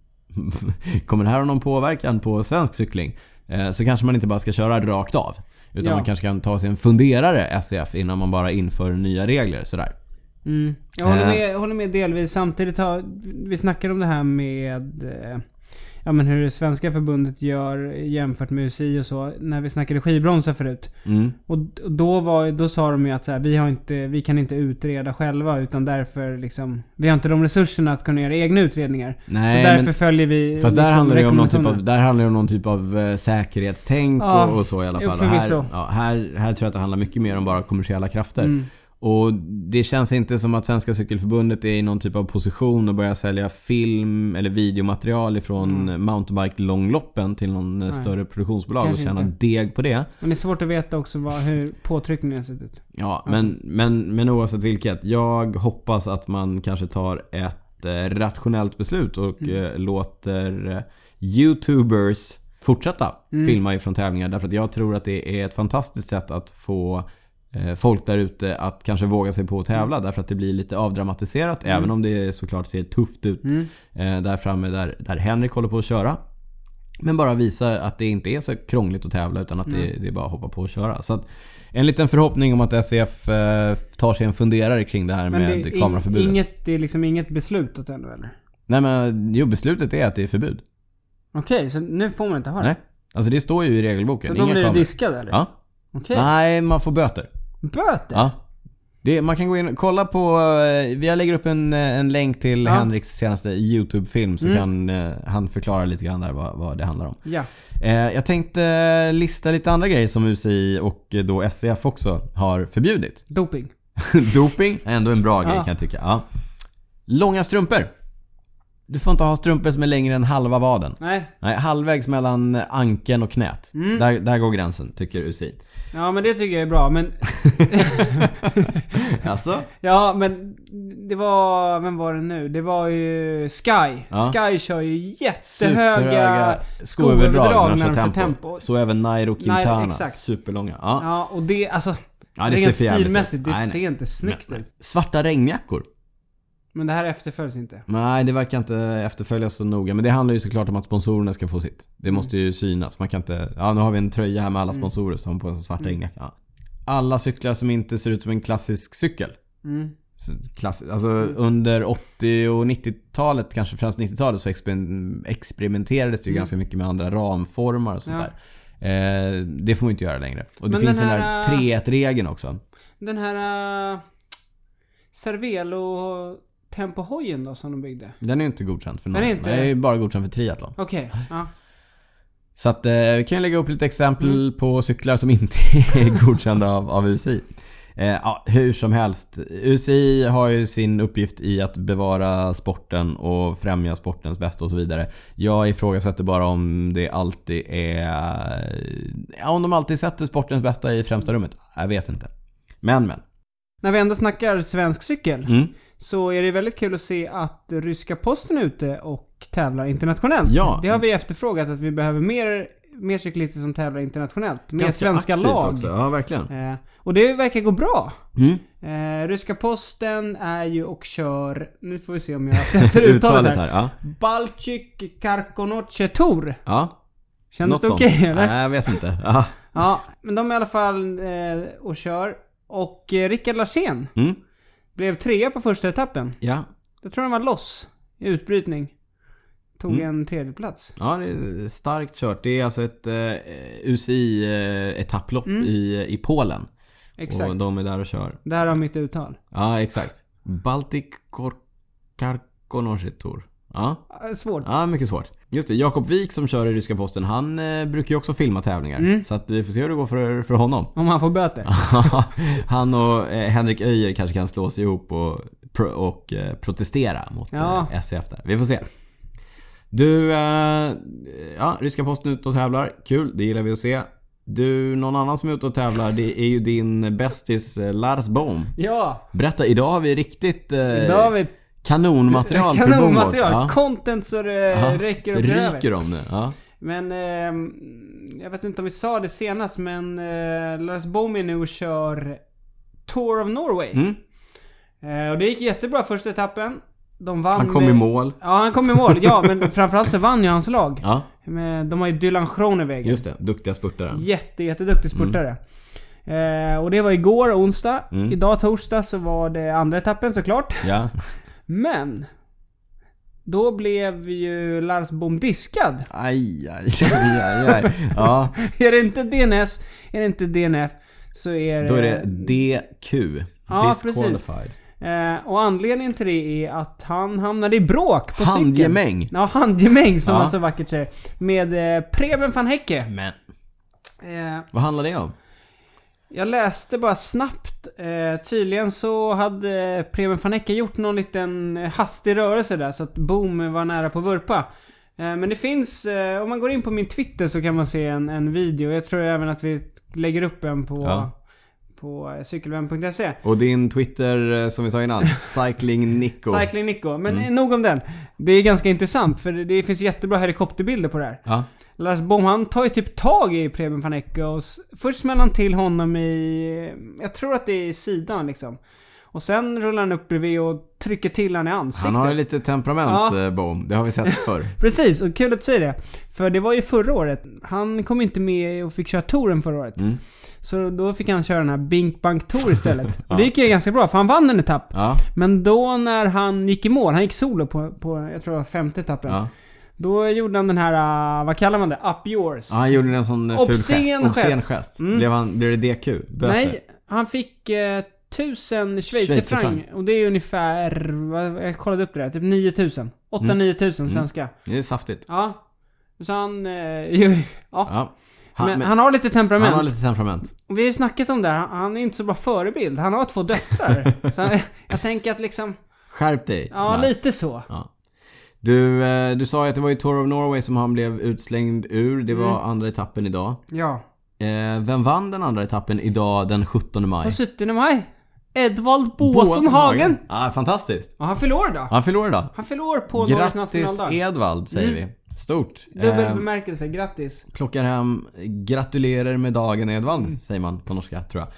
S1: Kommer det här ha någon påverkan på svensk cykling? Eh, Så kanske man inte bara ska köra rakt av. Utan
S2: Ja.
S1: man kanske kan ta sig en funderare SCF innan man bara inför nya regler sådär.
S2: Mm. Jag håller
S1: Eh.
S2: med, jag håller med delvis. Samtidigt har vi snackar om det här med eh, ja, men hur det svenska förbundet gör jämfört med UCI och så. När vi snackade skivbromsar förut.
S1: Mm.
S2: Och d- och då, var, då sa de ju att så här, vi, har inte, vi kan inte utreda själva utan därför liksom... Vi har inte de resurserna att kunna göra egna utredningar.
S1: Nej,
S2: så därför
S1: men-
S2: följer vi
S1: Fast där
S2: liksom
S1: handlar, det ju om någon typ av,
S2: rekommendationerna.
S1: där handlar det om någon typ av eh, säkerhetstänk
S2: Ja,
S1: och, och så i alla
S2: jo,
S1: fall. Och här,
S2: förvisso.
S1: ja, här, här tror jag att det handlar mycket mer om bara kommersiella krafter.
S2: Mm.
S1: Och det känns inte som att Svenska Cykelförbundet är i någon typ av position och börjar sälja film eller videomaterial ifrån
S2: Mm.
S1: mountainbike-långloppen till någon eh, större produktionsbolag
S2: Kanske
S1: och tjäna
S2: inte.
S1: deg på det.
S2: Men det är svårt att veta också vad, hur påtryckningen har sett ut.
S1: Ja, men, men, men oavsett vilket. Jag hoppas att man kanske tar ett eh, rationellt beslut och eh, låter eh, YouTubers fortsätta filma ifrån tävlingar. Därför att jag tror att det är ett fantastiskt sätt att få eh, folk där ute att kanske våga sig på att tävla.
S2: Mm.
S1: Därför att det blir lite avdramatiserat. Även om det såklart ser tufft ut
S2: Mm.
S1: eh, där framme där, där Henrik håller på att köra. Men bara visa att det inte är så krångligt att tävla utan att
S2: Mm.
S1: det, det är bara att hoppa på och köra. Så att, en liten förhoppning om att SCF eh, tar sig en funderare kring det här
S2: Men
S1: med
S2: det, är in,
S1: kameraförbudet.
S2: inget, det är liksom inget beslutat ännu eller?
S1: Nej men jo, beslutet är att det är förbud.
S2: Okej, så nu får man inte ha det?
S1: Nej. Alltså det står ju i regelboken.
S2: Så
S1: Inga
S2: då blir det
S1: kameror.
S2: diskade eller?
S1: Ja.
S2: Okej.
S1: Nej, man får böter.
S2: Böter?
S1: Ja. Det, man kan gå in och kolla på... eh, Jag lägger upp en, eh, en länk till
S2: Ja.
S1: Henriks senaste YouTube-film så kan eh, han förklara lite grann där vad, vad det handlar om.
S2: Ja.
S1: Eh, Jag tänkte eh, lista lite andra grejer som UCI och eh, då SCF också har förbjudit.
S2: Doping.
S1: Doping är ändå en bra grej
S2: Ja.
S1: kan jag tycka. Ja. Långa strumpor. Du får inte ha strumpor som är längre än halva vaden.
S2: Nej.
S1: Nej, halvvägs mellan ankeln och knät. Där, där går gränsen, tycker UCI.
S2: Ja men det tycker jag är bra men...
S1: Alltså?
S2: Ja men... Det var... Vem var det nu? Det var ju Sky.
S1: Ja.
S2: Sky kör ju jättehöga...
S1: Superhöga skoöverdrag när de kör
S2: tempo.
S1: tempo. Så även Nairo Quintana.
S2: exakt.
S1: Superlånga. Ja.
S2: Ja och det alltså...
S1: Ja, det ser
S2: rent
S1: för jävligt ut.
S2: stilmässigt, det
S1: Nej, nej.
S2: ser inte snyggt
S1: Nej, nej.
S2: ut.
S1: Svarta regnjackor.
S2: Men det här efterföljs inte.
S1: Nej, det verkar inte efterföljas så noga. Men det handlar ju såklart om att sponsorerna ska få sitt. Det måste ju synas. Man kan inte... Ja, nu har vi en tröja här med
S2: Mm.
S1: alla sponsorer som har på en svart regnjacka. Ja. Alla cyklar som inte ser ut som en klassisk cykel.
S2: Mm.
S1: Så Klass, alltså under 80 och 90-talet, kanske främst 90-talet, så exper- experimenterades det ju ganska mycket med andra ramformar och sånt
S2: Mm. Ja.
S1: där. Eh, det får man ju inte göra längre. Och det
S2: Men
S1: finns
S2: den
S1: den
S2: här,
S1: här
S2: eh,
S1: 3-1-regeln också.
S2: Den här... Uh, Cervelo tempohojen då som de byggde.
S1: Den är ju inte godkänd för någon.
S2: Den är inte-
S1: Den är ju bara godkänd för triathlon.
S2: Okej, ja.
S1: Så att, eh, vi kan ju lägga upp lite exempel på cyklar som inte är godkända av, av UCI. Eh, ja, hur som helst. UCI har ju sin uppgift i att bevara sporten och främja sportens bästa och så vidare. Jag ifrågasätter bara om det alltid är... Ja, om de alltid sätter sportens bästa i främsta rummet. Jag vet inte. Men, men.
S2: När vi ändå snackar svensk cykel
S1: Mm.
S2: så är det väldigt kul att se att ryska posten är ute och tävlar internationellt.
S1: Ja.
S2: Det har vi efterfrågat att vi behöver mer, mer cyklister som tävlar internationellt. Mer svenska
S1: aktivt
S2: lag.
S1: Också. Ja, verkligen.
S2: Eh, och det verkar gå bra.
S1: Mm.
S2: Eh, ryska posten är ju och kör, nu får vi se om jag sätter uttalet här.
S1: Ja.
S2: Balchik Karkonoche Tour.
S1: ja.
S2: Kändes
S1: Något
S2: det
S1: sånt.
S2: okej eller?
S1: Nej, jag vet inte. Ja.
S2: Ja, men de är i alla fall eh, och kör. Och eh, Rickard Larsén
S1: Mm.
S2: blev trea på första etappen.
S1: ja.
S2: Jag tror han var loss i utbrytning. Tog
S1: Mm.
S2: en tredjeplats.
S1: Ja, det är starkt kört. Det är alltså ett eh, UCI-etapplopp eh, i, i Polen.
S2: Exakt.
S1: Och de är där och kör.
S2: Där har mitt uttal.
S1: Ja, exakt. Baltic Karkonoshi Tour. Ja.
S2: Ah, Svårt.
S1: ja, mycket svårt. Just det, Jakob Wik som kör i ryska posten, han eh, brukar ju också filma tävlingar. Så att vi får se hur det går för, för honom.
S2: Om han får böter.
S1: han och eh, Henrik Öijer kanske kan slå sig ihop och, pro- och eh, protestera mot
S2: Ja.
S1: eh, SCF där. Vi får se. Du, eh, ja, ryska posten ute och tävlar. Kul, det gillar vi att se. Du, någon annan som är ute och tävlar, det är ju din bästis eh, Lars Bohm.
S2: Ja,
S1: Berätta, idag har vi riktigt eh,
S2: David.
S1: kanonmaterial för Bomvård.
S2: Kanonmaterial. Content så det
S1: Ja,
S2: räcker
S1: det
S2: och
S1: ryker
S2: gräver.
S1: om nu. Ja.
S2: Men ehm, jag vet inte om vi sa det senast men eh, Lars Bohm är nu och kör Tour of Norway.
S1: Mm.
S2: Eh, och det gick jättebra första etappen. De vann
S1: Han kom i
S2: med-
S1: mål.
S2: Ja, han kom i mål. Ja, men framförallt så vann ju hans lag.
S1: Ja,
S2: Men De har ju Dylan Schroneweg.
S1: just det. Mm. Duktiga spurtaren.
S2: Jätte, jätteduktig spurtare. Eh, och det var igår, onsdag.
S1: Mm.
S2: Idag, torsdag, så var det andra etappen såklart.
S1: Ja.
S2: Men... Då blev ju Lars Bohm diskad.
S1: Aj, aj, aj, aj, aj. Ja,
S2: är det inte DNS, är det inte DNF, så är det...
S1: Då är det DQ.
S2: Eh. Ja,
S1: disqualified.
S2: Eh, och anledningen till det är att han hamnade i bråk på cykeln.
S1: Handgemäng.
S2: Ja, handgemäng som
S1: Ja.
S2: man så vackert säger. Med eh, Preben van Häcke.
S1: Men.
S2: Eh,
S1: Vad handlar det om?
S2: Jag läste bara snabbt. Eh, tydligen så hade eh, Preben van Ecke gjort någon liten eh, hastig rörelse där så att boom var nära på vurpa. Eh, men det finns, eh, om man går in på min Twitter så kan man se en, en video. Jag tror även att vi lägger upp en på,
S1: Ja.
S2: på eh, cykelvän.se.
S1: Och din Twitter, eh, som vi sa innan, Cycling Nico. Mm.
S2: Cycling Nico. Men eh, nog om den. Det är ganska intressant för det, det finns jättebra helikopterbilder på det här.
S1: Ja.
S2: Lars Bohm han tar ju typ tag i Preben van Ecke och s- först smäller han till honom i... Jag tror att det är i sidan liksom. Och sen rullar han upp bredvid och trycker till han i ansiktet.
S1: Han har ju lite temperament,
S2: Ja.
S1: ja. Bohm. Det har vi sett förr.
S2: Precis, och kul att du säger det. För det var ju förra året. Han kom inte med och fick köra touren förra året.
S1: Mm.
S2: Så då fick han köra den här Bink Bank Tour istället. Och det gick ju ganska bra för han vann en etapp.
S1: Ja,
S2: Men då när han gick i mål, han gick solo på, på jag tror det var femte etappen.
S1: ja.
S2: Då gjorde han den här, uh, vad kallar man det? Up yours.
S1: Ja, han gjorde en sån eh, ful gest.
S2: Obscen gest. Mm.
S1: Blev, han, blev det DQ? Böter?
S2: Nej, han fick eh, 1000 schweizerfranc.
S1: Schweizerfranc.
S2: Och det är ungefär, vad- jag kollade upp det där, typ 9000.
S1: Mm.
S2: 8-9 000 svenska.
S1: Det är saftigt.
S2: Ja. Så han, eh, ju, ja.
S1: Ja.
S2: Han,
S1: Han,
S2: men,
S1: men,
S2: han har lite temperament.
S1: han har lite temperament.
S2: Och Vi har ju snackat om det här, han är inte så bra förebild. Han har två döttrar. så jag, jag tänker att liksom,
S1: Skärp dig.
S2: ja
S1: Lars.
S2: lite så.
S1: Ja. Du, eh, du sa ju att det var i Tour of Norway som han blev utslängd ur. Det var
S2: Mm.
S1: andra etappen idag.
S2: Ja.
S1: Eh, vem vann den andra etappen idag den 17 maj?
S2: På 17 maj. Edvald
S1: Boasson
S2: Boasson
S1: Hagen. Ja, fantastiskt.
S2: Och han förlorar då.
S1: Han förlorade idag.
S2: Han förlorar på Norges
S1: Grattis
S2: nationaldag. Mm.
S1: Edvald säger vi. Stort.
S2: Dubbel
S1: Eh,
S2: bemärkelse, grattis.
S1: plockar hem gratulerar med dagen Edvald, säger man på norska tror jag.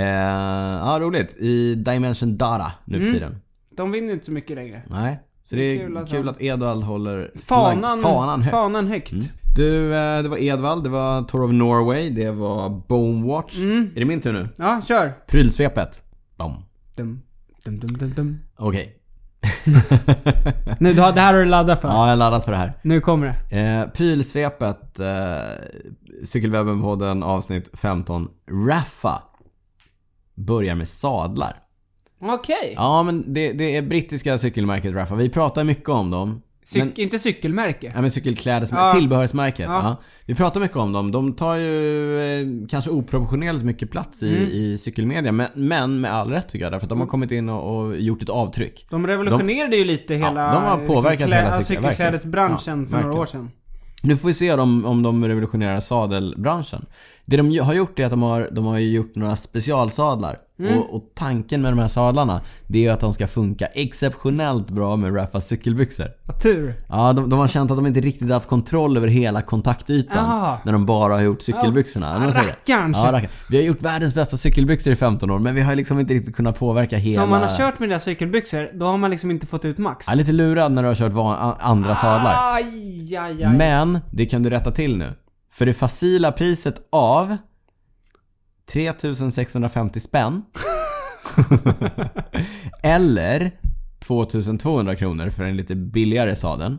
S1: Eh, ja, roligt. I Dimension Dara nu för tiden.
S2: De vinner inte så mycket längre.
S1: Nej. Så det är
S2: Mm. Kul att
S1: kul,
S2: han-
S1: att Edvald håller flagg-
S2: Fanan,
S1: fanan högt. Mm.
S2: fanan högt.
S1: Du, eh, det var Edvald, det var Tour of Norway, det var Bone Watch. Är det min tur nu?
S2: Ja, kör.
S1: Prylsvepet. Bom.
S2: Dum, dum, dum, dum, dum.
S1: Okej.
S2: Nu, du har, det här har du laddat för.
S1: ja, jag laddas för det här.
S2: Nu kommer det.
S1: Eh, Pilsvepet, eh, Cykelwebben-podden avsnitt 15. Raffa börjar med sadlar.
S2: Okej.
S1: Ja, men det, det är brittiska cykelmärket Raffa. Vi pratar mycket om dem.
S2: Cyk- inte cykelmärke.
S1: Ja men cykelklädes...
S2: Ja.
S1: Tillbehörsmärket.
S2: Ja.
S1: Ja. Vi pratar mycket om dem. De tar ju eh, kanske oproportionerligt mycket plats
S2: Mm.
S1: i, i cykelmedia. Men, men med all rätt tycker jag. Därför att de har kommit in och, och gjort ett avtryck.
S2: De revolutionerade ju lite hela...
S1: de har påverkat
S2: klä-
S1: hela cykel-
S2: cykelklädesbranschen
S1: verkligen.
S2: för
S1: Ja,
S2: några år sedan.
S1: Nu får vi se om, om de revolutionerar sadelbranschen. Det de ju- har gjort är att de har, de har ju gjort några specialsadlar.
S2: Mm.
S1: Och, och tanken med de här sadlarna, det är ju att de ska funka exceptionellt bra med Raffas cykelbyxor.
S2: Vad tur.
S1: Ja, de, de har känt att de inte riktigt haft kontroll över hela kontaktytan
S2: Ah.
S1: när de bara har gjort cykelbyxorna. Ja,
S2: rackarns.
S1: Ja, rackarn. Vi har gjort världens bästa cykelbyxor i 15 år men vi har liksom inte riktigt kunnat påverka hela...
S2: Så om man har kört med deras cykelbyxor, då har man liksom inte fått ut max.
S1: Ja, lite lurad när du har kört van, a- andra
S2: Ah,
S1: sadlar.
S2: Aj, aj, aj.
S1: Men det kan du rätta till nu. För det facila priset av 3650 spänn eller 2200 kronor för en lite billigare sadeln.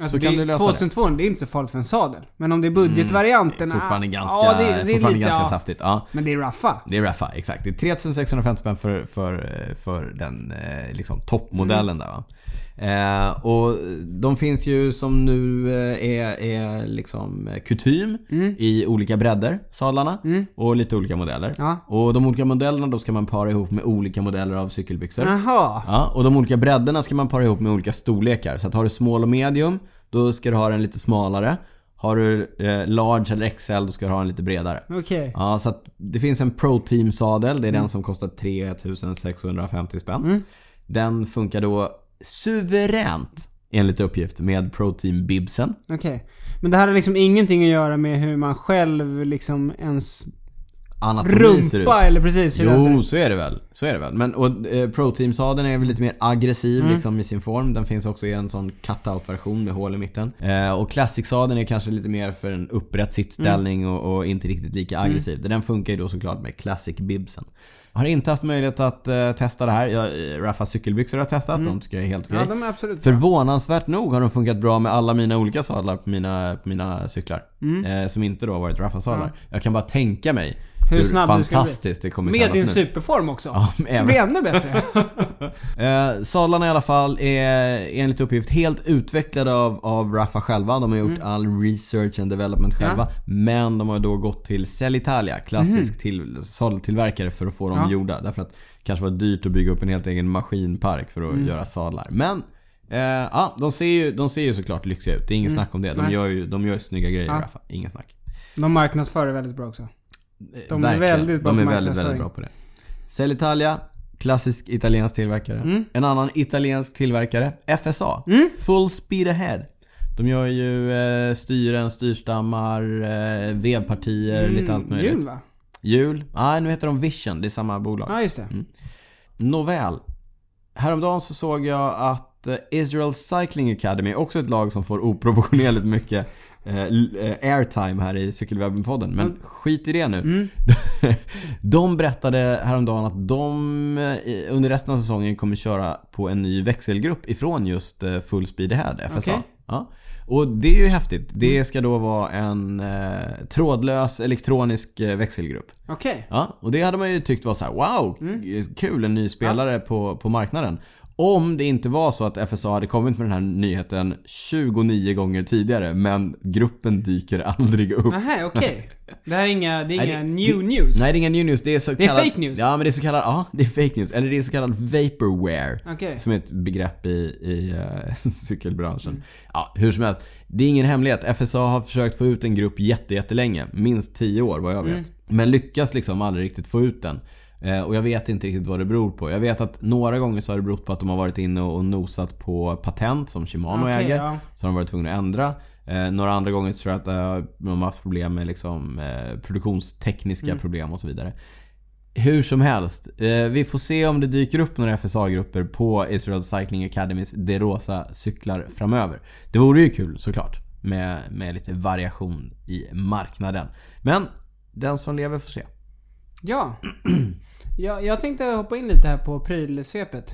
S2: Alltså,
S1: så kan
S2: det,
S1: du
S2: är
S1: lösa det. Mm,
S2: 2200, det är inte så farligt för en sadel. Men om det är budgetvarianten...
S1: Fortfarande
S2: ah,
S1: ganska,
S2: ja, det, det är
S1: fortfarande
S2: lite,
S1: ganska
S2: ja.
S1: saftigt. Ja.
S2: Men det är raffa.
S1: Det är Raffa, exakt. Det är 3650 spänn för, för, eh, för den eh, liksom, toppmodellen där va. Eh, och de finns ju som nu eh, är, är liksom eh, kutym i olika bredder, sadlarna. Och lite olika modeller.
S2: Ja.
S1: Och de olika modellerna då ska man para ihop med olika modeller av cykelbyxor.
S2: Jaha.
S1: Ja, och de olika bredderna ska man para ihop med olika storlekar. Så att har du small och medium, då ska du ha den lite smalare. Har du eh, large eller XL, då ska du ha den lite bredare.
S2: Okej.
S1: Ja, så att det finns en Pro Team sadel. Det är den som kostar 3650 spänn. Den funkar då suveränt enligt uppgift med Pro Team bibsen.
S2: Okej. Men det här har liksom ingenting att göra med hur man själv liksom ens
S1: Anatomi ser ut.
S2: rumpa eller precis hur den ser ut.
S1: Jo, så är det väl. Så är det väl. Men och, eh, Pro Team sadeln är väl lite mer aggressiv
S2: Mm.
S1: liksom i sin form. Den finns också i en sån cut-out version med hål i mitten. Eh, och Classic sadeln är kanske lite mer för en upprätt sittställning
S2: Mm.
S1: och, och inte riktigt lika aggressiv. Den funkar ju då såklart med Classic bibsen. Jag har inte haft möjlighet att eh, testa det här. Jag, eh, Raffas cykelbyxor har jag testat. De tycker jag är helt okej.
S2: Mm. Ja, de är absolut bra.
S1: Förvånansvärt nog har de funkat bra med alla mina olika sadlar på mina, på mina cyklar.
S2: Mm.
S1: Eh, som inte då har varit Raffa-sadlar. Jag kan bara tänka mig
S2: Hur
S1: hur,
S2: snabb du ska bli.
S1: fantastiskt det kommer
S2: Med
S1: kännas
S2: din
S1: nu.
S2: superform också.
S1: Ja,
S2: så det
S1: även.
S2: blir ännu bättre.
S1: Eh, sadlarna i alla fall är enligt uppgift helt utvecklade av, av Raffa själva. De har gjort
S2: Mm.
S1: all research and development själva. Men de har då gått till Cellitalia, klassisk till, sadeltillverkare för att få dem
S2: Mhm. Ja.
S1: gjorda. Därför att det kanske var dyrt att bygga upp en helt egen maskinpark för att
S2: Mm.
S1: göra sadlar. Men eh, ja, de, ser ju, de ser ju såklart lyxiga ut. Det är inget snack om det. De
S2: Mm. Nej.
S1: gör ju de gör ju snygga grejer
S2: Ja.
S1: Raffa. Inget snack.
S2: De marknadsför det väldigt bra också. De är
S1: Eh, Verkligen.
S2: väldigt bra
S1: De
S2: på
S1: är väldigt,
S2: marknadsföring.
S1: väldigt bra på det. Cellitalia, klassisk italiensk tillverkare.
S2: Mm.
S1: En annan italiensk tillverkare, FSA. Full Speed Ahead. De gör ju eh, styren, styrstammar, eh, vevpartier, lite allt möjligt.
S2: Mm, Jul
S1: Hjul?
S2: va?
S1: Nej, nu heter de Vision. Det är samma bolag.
S2: Ja, just det.
S1: Nåväl. Häromdagen så såg jag att eh, Israel Cycling Academy, också ett lag som får oproportionerligt mycket eh, l- eh, airtime här i Cykelwebben-podden. Men skit i det nu. de berättade häromdagen att de eh, under resten av säsongen kommer köra på en ny växelgrupp ifrån just eh, Full Speed Ahead, FSA.
S2: Okej.
S1: Ja. Och det är ju häftigt. Det ska då vara en eh, trådlös elektronisk eh, växelgrupp.
S2: Okej.
S1: Ja, och det hade man ju tyckt var så här: wow, kul, en ny spelare på, på marknaden. Om det inte var så att FSA hade kommit med den här nyheten 29 gånger tidigare men gruppen dyker aldrig upp.
S2: Nähä, okej. Det här är inga, det är
S1: Nej,
S2: inga
S1: det-
S2: new news.
S1: Nej, det är inga new news. Det är så
S2: Det är
S1: kallad,
S2: fake news.
S1: Ja, men det är så kallad, ja, det är fake news. Eller det är så kallad vaporware.
S2: Okej.
S1: Som är ett begrepp i, i eh, cykelbranschen.
S2: Mm.
S1: Ja, hur som helst. Det är ingen hemlighet. FSA har försökt få ut en grupp jätte, jättelänge. Minst 10 år vad jag vet.
S2: Mm.
S1: Men lyckas liksom aldrig riktigt få ut den. Eh, Och jag vet inte riktigt vad det beror på. Jag vet att några gånger så har det berott på att de har varit inne och nosat på patent som Shimano
S2: Okej,
S1: äger.
S2: ja.
S1: Så har de varit tvungna att ändra. Eh, några andra gånger så tror jag att eh, de har haft problem med liksom, eh, produktionstekniska
S2: Mm.
S1: problem och så vidare. Hur som helst. Eh, vi får se om det dyker upp några FSA-grupper på Israel Cycling Academys De Rosa cyklar framöver. Det vore ju kul såklart. Med, med lite variation i marknaden. Men den som lever får se. Mm.
S2: Ja. ja. Jag tänkte hoppa in lite här på prylsvepet.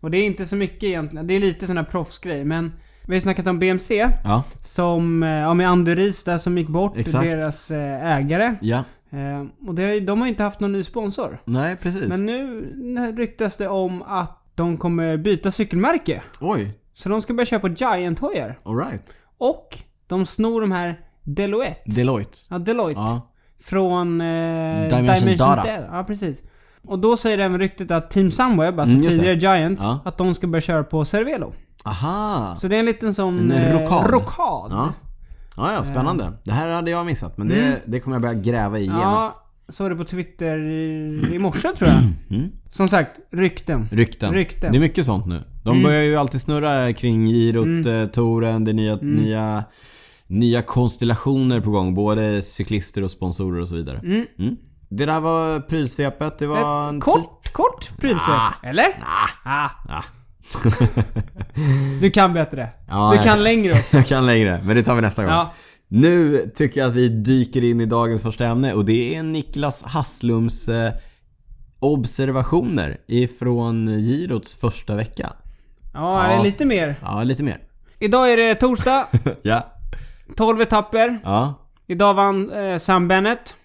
S2: Och det är inte så mycket egentligen. Det är lite sån här proffsgrej men vi har ju snackat om BMC
S1: Ja,
S2: som, eh, ja med Anderis där som gick bort,
S1: Exakt.
S2: deras eh, ägare.
S1: ja.
S2: Eh, Och det har ju, de har ju inte haft någon ny sponsor.
S1: Nej, precis.
S2: Men nu nu ryktas det om att de kommer byta cykelmärke.
S1: Oj,
S2: Så de ska börja köpa Giant-hojar.
S1: alright.
S2: Och de snor de här Deloitte,
S1: Deloitte.
S2: ja, Deloitte
S1: Ja.
S2: från eh,
S1: Dimension Data.
S2: Ja, precis. Och då säger även ryktet att Team Sunweb, alltså
S1: Mm, just
S2: tidigare Giant,
S1: Ja.
S2: att de ska börja köra på Cervelo.
S1: Aha!
S2: Så det är en liten sån... eh,
S1: En rokad.
S2: rokad.
S1: Ja. Ja, ja, spännande. Det här hade jag missat, men det, det kommer jag börja gräva i
S2: Eh. Mm. Ja,
S1: genast.
S2: såg det på Twitter i- i morse tror jag.
S1: Mm.
S2: Som sagt, rykten.
S1: Rykten.
S2: Rykten. Mm.
S1: Det är mycket sånt nu. De börjar ju alltid snurra kring girot, mm. touren, det är nya,
S2: Mm.
S1: nya, nya konstellationer på gång. Både cyklister och sponsorer och så vidare. Mm. Det där var prylsvepet. Det var en
S2: Ett kort, kort prylsvep. Eller? Ah.
S1: Mm. Ah.
S2: Du kan bättre.
S1: Ja,
S2: du
S1: jag
S2: kan
S1: vet.
S2: längre också.
S1: Jag kan längre, men det tar vi nästa gång.
S2: Ja.
S1: Nu tycker jag att vi dyker in i dagens första ämne och det är Niklas Hasslums eh, observationer ifrån Girots första vecka.
S2: Ja,
S1: Ja.
S2: lite mer.
S1: Ja, lite mer.
S2: Idag är det torsdag,
S1: Ja.
S2: 12 etapper.
S1: Ja.
S2: Idag vann eh, Sam Bennett.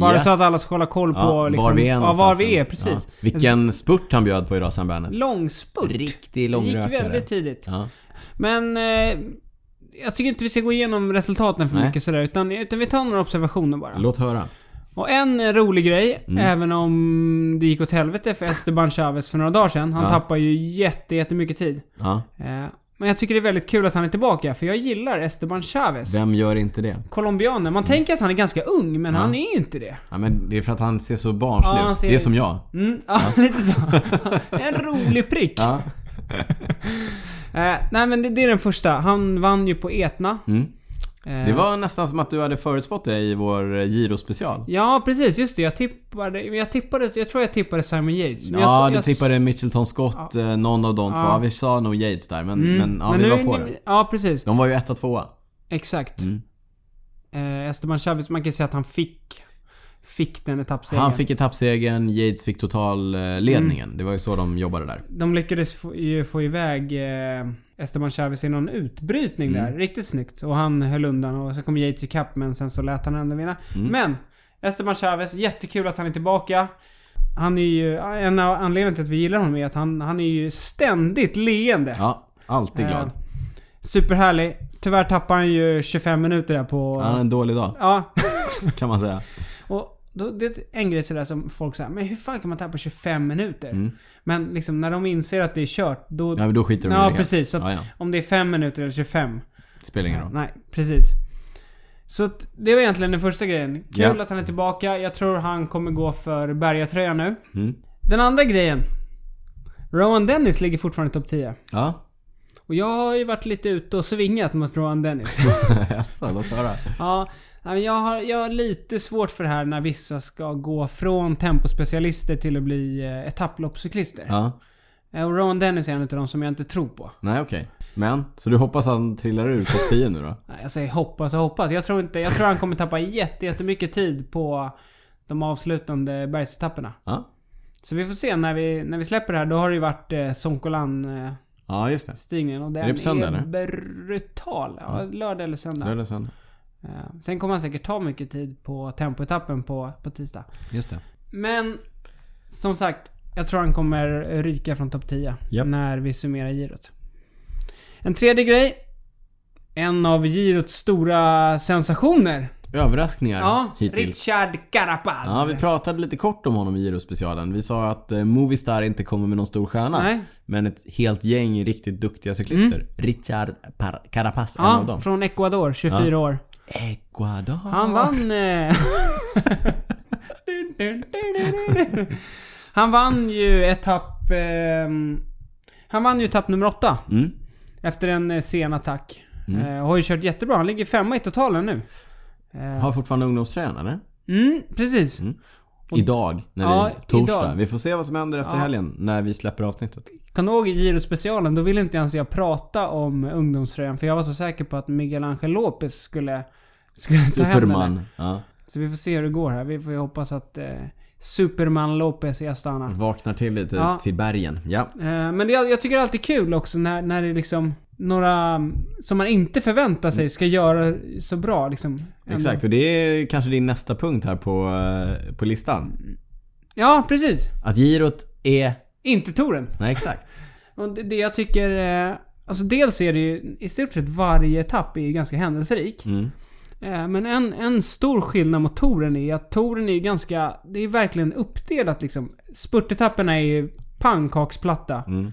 S2: Bara
S1: Yes.
S2: så att alla ska hålla koll på
S1: ja
S2: liksom,
S1: var vi är
S2: ja, var
S1: någonstans.
S2: vi är, precis.
S1: Ja. Vilken spurt han bjöd på idag, Sam Bennett.
S2: Långspurt.
S1: Riktig
S2: Det gick
S1: långrökare.
S2: väldigt tidigt.
S1: Ja.
S2: Men... Eh, jag tycker inte vi ska gå igenom resultaten för
S1: Nej.
S2: mycket sådär, utan, utan vi tar några observationer bara.
S1: Låt höra.
S2: Och en rolig grej,
S1: Mm.
S2: även om det gick åt helvete för Esteban Chavez för några dagar sedan. Han
S1: Ja.
S2: tappar ju jätte, jättemycket tid.
S1: Ja.
S2: Eh, Men jag tycker det är väldigt kul att han är tillbaka, för jag gillar Esteban Chavez.
S1: Vem gör inte det?
S2: Colombianen. Man tänker att han är ganska ung, men han är inte det.
S1: Ja, men det är för att han ser så barnslig
S2: Ja, han
S1: ut.
S2: ser-
S1: Det är som jag.
S2: Mm, ja, lite så. en rolig prick.
S1: Ja.
S2: Eh, nej men det, det är den första. Han vann ju på Etna.
S1: Mm.
S2: Eh,
S1: Det var nästan som att du hade förutspått det i vår eh, Giro-special.
S2: Ja, precis. Just det. Jag tippade... Jag tippade... Jag tror jag tippade Simon Yates. men
S1: Ja,
S2: jag,
S1: du
S2: jag,
S1: tippade Mitchelton Scott, eh, någon av de två. Ja, vi sa nog Yates där, men, men ja, vi
S2: Mm. nu
S1: var
S2: är
S1: på
S2: ni-
S1: det.
S2: Ja, precis.
S1: De var ju etta, tvåa.
S2: Exakt.
S1: Mm.
S2: Eh, Esteban Chavez, man kan säga att han fick... Fick den etappsegern.
S1: Han fick etappsegern, Yates fick totalledningen.
S2: Mm.
S1: Det var ju så de jobbade där.
S2: De lyckades få, ju få iväg eh, Esteban Chavez i någon utbrytning
S1: Mm.
S2: där. Riktigt snyggt. Och han höll undan och så kom Yates ikapp men sen så lät han ändå vinna.
S1: Mm.
S2: Men! Esteban Chavez, jättekul att han är tillbaka. Han är ju, en av anledningarna till att vi gillar honom är att han, han är ju ständigt leende.
S1: Ja, alltid glad.
S2: Eh, superhärlig. Tyvärr tappar han ju 25 minuter där på...
S1: Han hade en dålig dag,
S2: Ja.
S1: kan man säga.
S2: Och då, det är en grej sådär som folk säger, men hur fan kan man tappa 25 minuter? Men liksom när de inser att det är kört, då...
S1: Mm. Ja, men då skiter de i det
S2: Ja,
S1: helt.
S2: precis. Så att
S1: Ja, ja.
S2: Om det är 5 minuter eller 25.
S1: Spelar ingen roll.
S2: Nej, precis. Så att det var egentligen den första grejen. Kul
S1: Ja.
S2: att han är tillbaka. Jag tror han kommer gå för bergatröja nu.
S1: Mm.
S2: Den andra grejen. Rowan Dennis ligger fortfarande i topp 10.
S1: Ja.
S2: Och jag har ju varit lite ute och svingat mot Rowan Dennis.
S1: Jaså, låt höra.
S2: Ja, nej, men jag har, jag har lite svårt för det här när vissa ska gå från tempospecialister till att bli eh, etapploppscyklister.
S1: Ja.
S2: Eh, Och Rowan Dennis är en av de som jag inte tror på.
S1: Nej, okej. Men, så du hoppas att han trillar ur topp 10 nu då?
S2: Nej, Jag säger hoppas och hoppas. Jag tror inte... Jag tror han kommer tappa jätte, jättemycket tid på de avslutande bergsetapperna.
S1: Ja.
S2: Så vi får se när vi, när vi släpper det här. Då har det ju varit eh, Sonkolan-stigningen
S1: Ja, just det.
S2: och den
S1: det på söndag,
S2: brutal. Ja, lördag eller söndag.
S1: Lördag, söndag.
S2: Eh, Sen kommer han säkert ta mycket tid på tempoetappen på, på tisdag.
S1: Just det.
S2: Men som sagt, jag tror han kommer ryka från topp 10
S1: Japp.
S2: när vi summerar girot. En tredje grej. En av girots stora sensationer.
S1: Överraskningar
S2: Ja,
S1: hittills.
S2: Richard Carapaz.
S1: Ja, vi pratade lite kort om honom i Girospecialen. Vi sa att eh, Movistar inte kommer med någon stor stjärna.
S2: Nej. Mm.
S1: Men ett helt gäng riktigt duktiga cyklister. Richard Par- Carapaz, en av
S2: ja,
S1: dem.
S2: från Ecuador, 24 år.
S1: Ecuador.
S2: Han vann... eh, han vann ju etapp... ehm, han vann ju etapp nummer 8.
S1: Mm.
S2: Efter en eh, sen attack. Eh, har ju kört jättebra. Han ligger femma i totalen nu. Eh.
S1: Har fortfarande ungdomstränare.
S2: Mm, precis.
S1: Idag, när
S2: Ja,
S1: det är torsdag.
S2: idag.
S1: Vi får se vad som händer efter helgen när vi släpper avsnittet.
S2: Kan du ihåg i Giro-specialen? Då ville inte ens jag prata om ungdomströjan för jag var så säker på att Miguel Angel Lopez skulle, skulle ta hem den. där.
S1: Superman. Ja.
S2: Så vi får se hur det går här. Vi får ju hoppas att eh, Superman Lopez i Astana.
S1: Vaknar till lite
S2: Ja.
S1: till bergen. Ja.
S2: Eh, Men det, jag tycker det är alltid kul också när, när det är liksom några mm, som man inte förväntar sig ska göra så bra liksom. ändå.
S1: Exakt, och det är kanske din nästa punkt här på, eh, på listan.
S2: Ja, precis.
S1: Att girot är...
S2: Inte Toren.
S1: Nej, exakt.
S2: Och det, det jag tycker... eh, Alltså dels är det ju i stort sett varje etapp är ju ganska händelserik.
S1: Mm.
S2: Eh, Men en, en stor skillnad mot touren är att touren är ju ganska... Det är verkligen uppdelat liksom. Spurtetapperna är ju pannkaksplatta.
S1: Mm.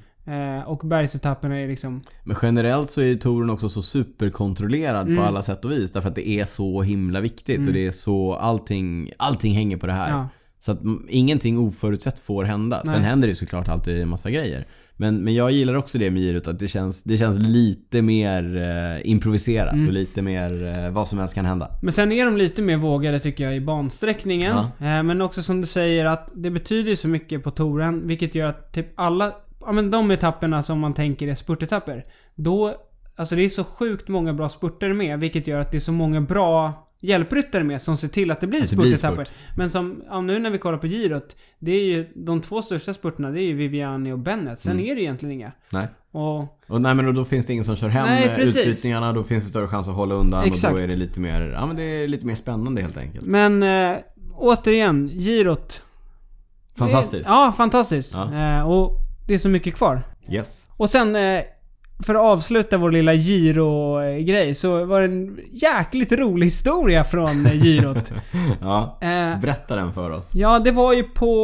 S2: Eh, Och bergsetapperna är liksom...
S1: Men generellt så är ju touren också så superkontrollerad
S2: Mm.
S1: på alla sätt och vis. Därför att det är så himla viktigt och det är så allting, allting hänger på det här.
S2: Ja.
S1: Så att mm, ingenting oförutsett får hända. Sen
S2: Nej.
S1: händer det ju såklart alltid en massa grejer. Men, men jag gillar också det med girot att det känns, det känns lite mer eh, improviserat
S2: Mm.
S1: och lite mer eh, vad som helst kan hända.
S2: Men sen är de lite mer vågade tycker jag i bansträckningen. Eh, Men också som du säger att det betyder ju så mycket på touren. Vilket gör att typ alla... Ja men de etapperna som man tänker är spurtetapper. Då... Alltså det är så sjukt många bra spurter med. Vilket gör att det är så många bra hjälpryttare med som ser till att det blir
S1: Att det blir
S2: spurtetapper. Men som, ja, nu när vi kollar på girot. Det är ju de två största spurterna. Det är ju Viviani och Bennett.
S1: Mm.
S2: Sen är det ju egentligen inga.
S1: Nej.
S2: Och
S1: Och nej men och då finns det ingen som kör hem
S2: Nej,
S1: eh,
S2: precis.
S1: utbrytningarna. Då finns det större chans att hålla undan och
S2: Exakt.
S1: då är det lite mer, ja men det är lite mer spännande helt enkelt.
S2: Men eh, återigen, girot.
S1: Fantastiskt.
S2: Det, ja, fantastiskt.
S1: Ja.
S2: Eh, och det är så mycket kvar.
S1: Yes.
S2: Och sen, eh, för att avsluta vår lilla giro-grej så var det en jäkligt rolig historia från eh, girot.
S1: Ja.
S2: eh,
S1: Berätta den för oss.
S2: ja, det var ju på...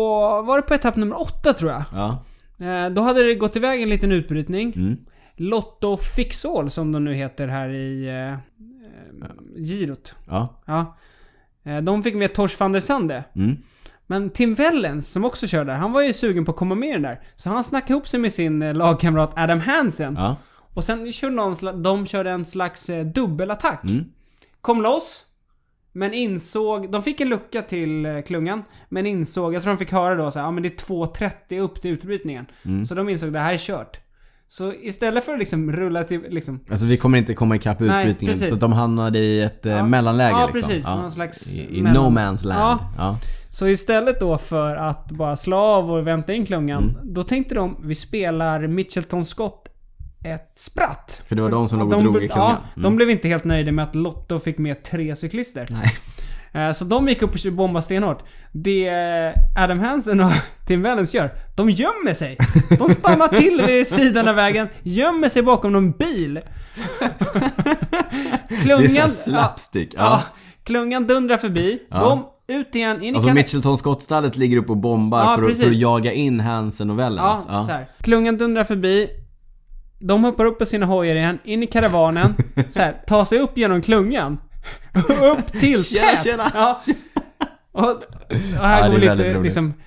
S2: Var det på etapp nummer åtta tror jag?
S1: Ja.
S2: Eh, då hade det gått iväg en liten utbrytning.
S1: Mm.
S2: Lotto Fixall som de nu heter här i... Eh, eh, girot.
S1: Ja.
S2: Ja. Eh, de fick med Tors van der Sande.
S1: Mm.
S2: Men Tim Wellens, som också kör där, han var ju sugen på att komma med i den där. Så han snackade ihop sig med sin eh, lagkamrat Adam Hansen.
S1: Ja.
S2: Och sen körde någon sla- de körde en slags eh, dubbelattack.
S1: Mm.
S2: Kom loss. Men insåg, de fick en lucka till eh, klungan. Men insåg, jag tror de fick höra då så här, ja men det är 2.30 upp till utbrytningen.
S1: Mm.
S2: Så de insåg, det här är kört. Så istället för att liksom rulla till, liksom...
S1: Alltså vi kommer inte komma ikapp
S2: Nej,
S1: utbrytningen
S2: precis.
S1: så att de hamnade i ett eh, mellanläge
S2: Ja,
S1: liksom.
S2: precis. Någon slags
S1: I, i
S2: mellan-
S1: no man's land.
S2: Ja.
S1: Ja.
S2: Så istället då för att bara slå av och vänta in klungan,
S1: Mm.
S2: då tänkte de vi spelar Mitchelton Scott ett spratt.
S1: För det var de som låg och drog i klungan. Mm.
S2: Ja, de blev inte helt nöjda med att Lotto fick med tre cyklister. Eh, Så de gick upp och bombade stenhårt. Det Adam Hansen och Tim Wellens gör, de gömmer sig. De stannar till vid sidan av vägen, gömmer sig bakom någon bil. klungan...
S1: Det är så
S2: ja,
S1: slapstick. Ja.
S2: ja, klungan dundrar förbi.
S1: Ja.
S2: De ut igen, in i
S1: Alltså
S2: kanet-
S1: Mitchelton skottstallet ligger upp och bombar
S2: Ja,
S1: för, att, för att
S2: precis.
S1: jaga in alltså. Hansen och
S2: Ja,
S1: Wellens.
S2: Så här. Klungan dundrar förbi. De hoppar upp på sina hojar igen, in i karavanen. så här, tar sig upp genom klungan. upp till
S1: Tjena,
S2: tät.
S1: tjena.
S2: Ja. Och, och
S1: Ja, det
S2: här
S1: är
S2: går
S1: väldigt
S2: lite
S1: roligt.
S2: liksom... det-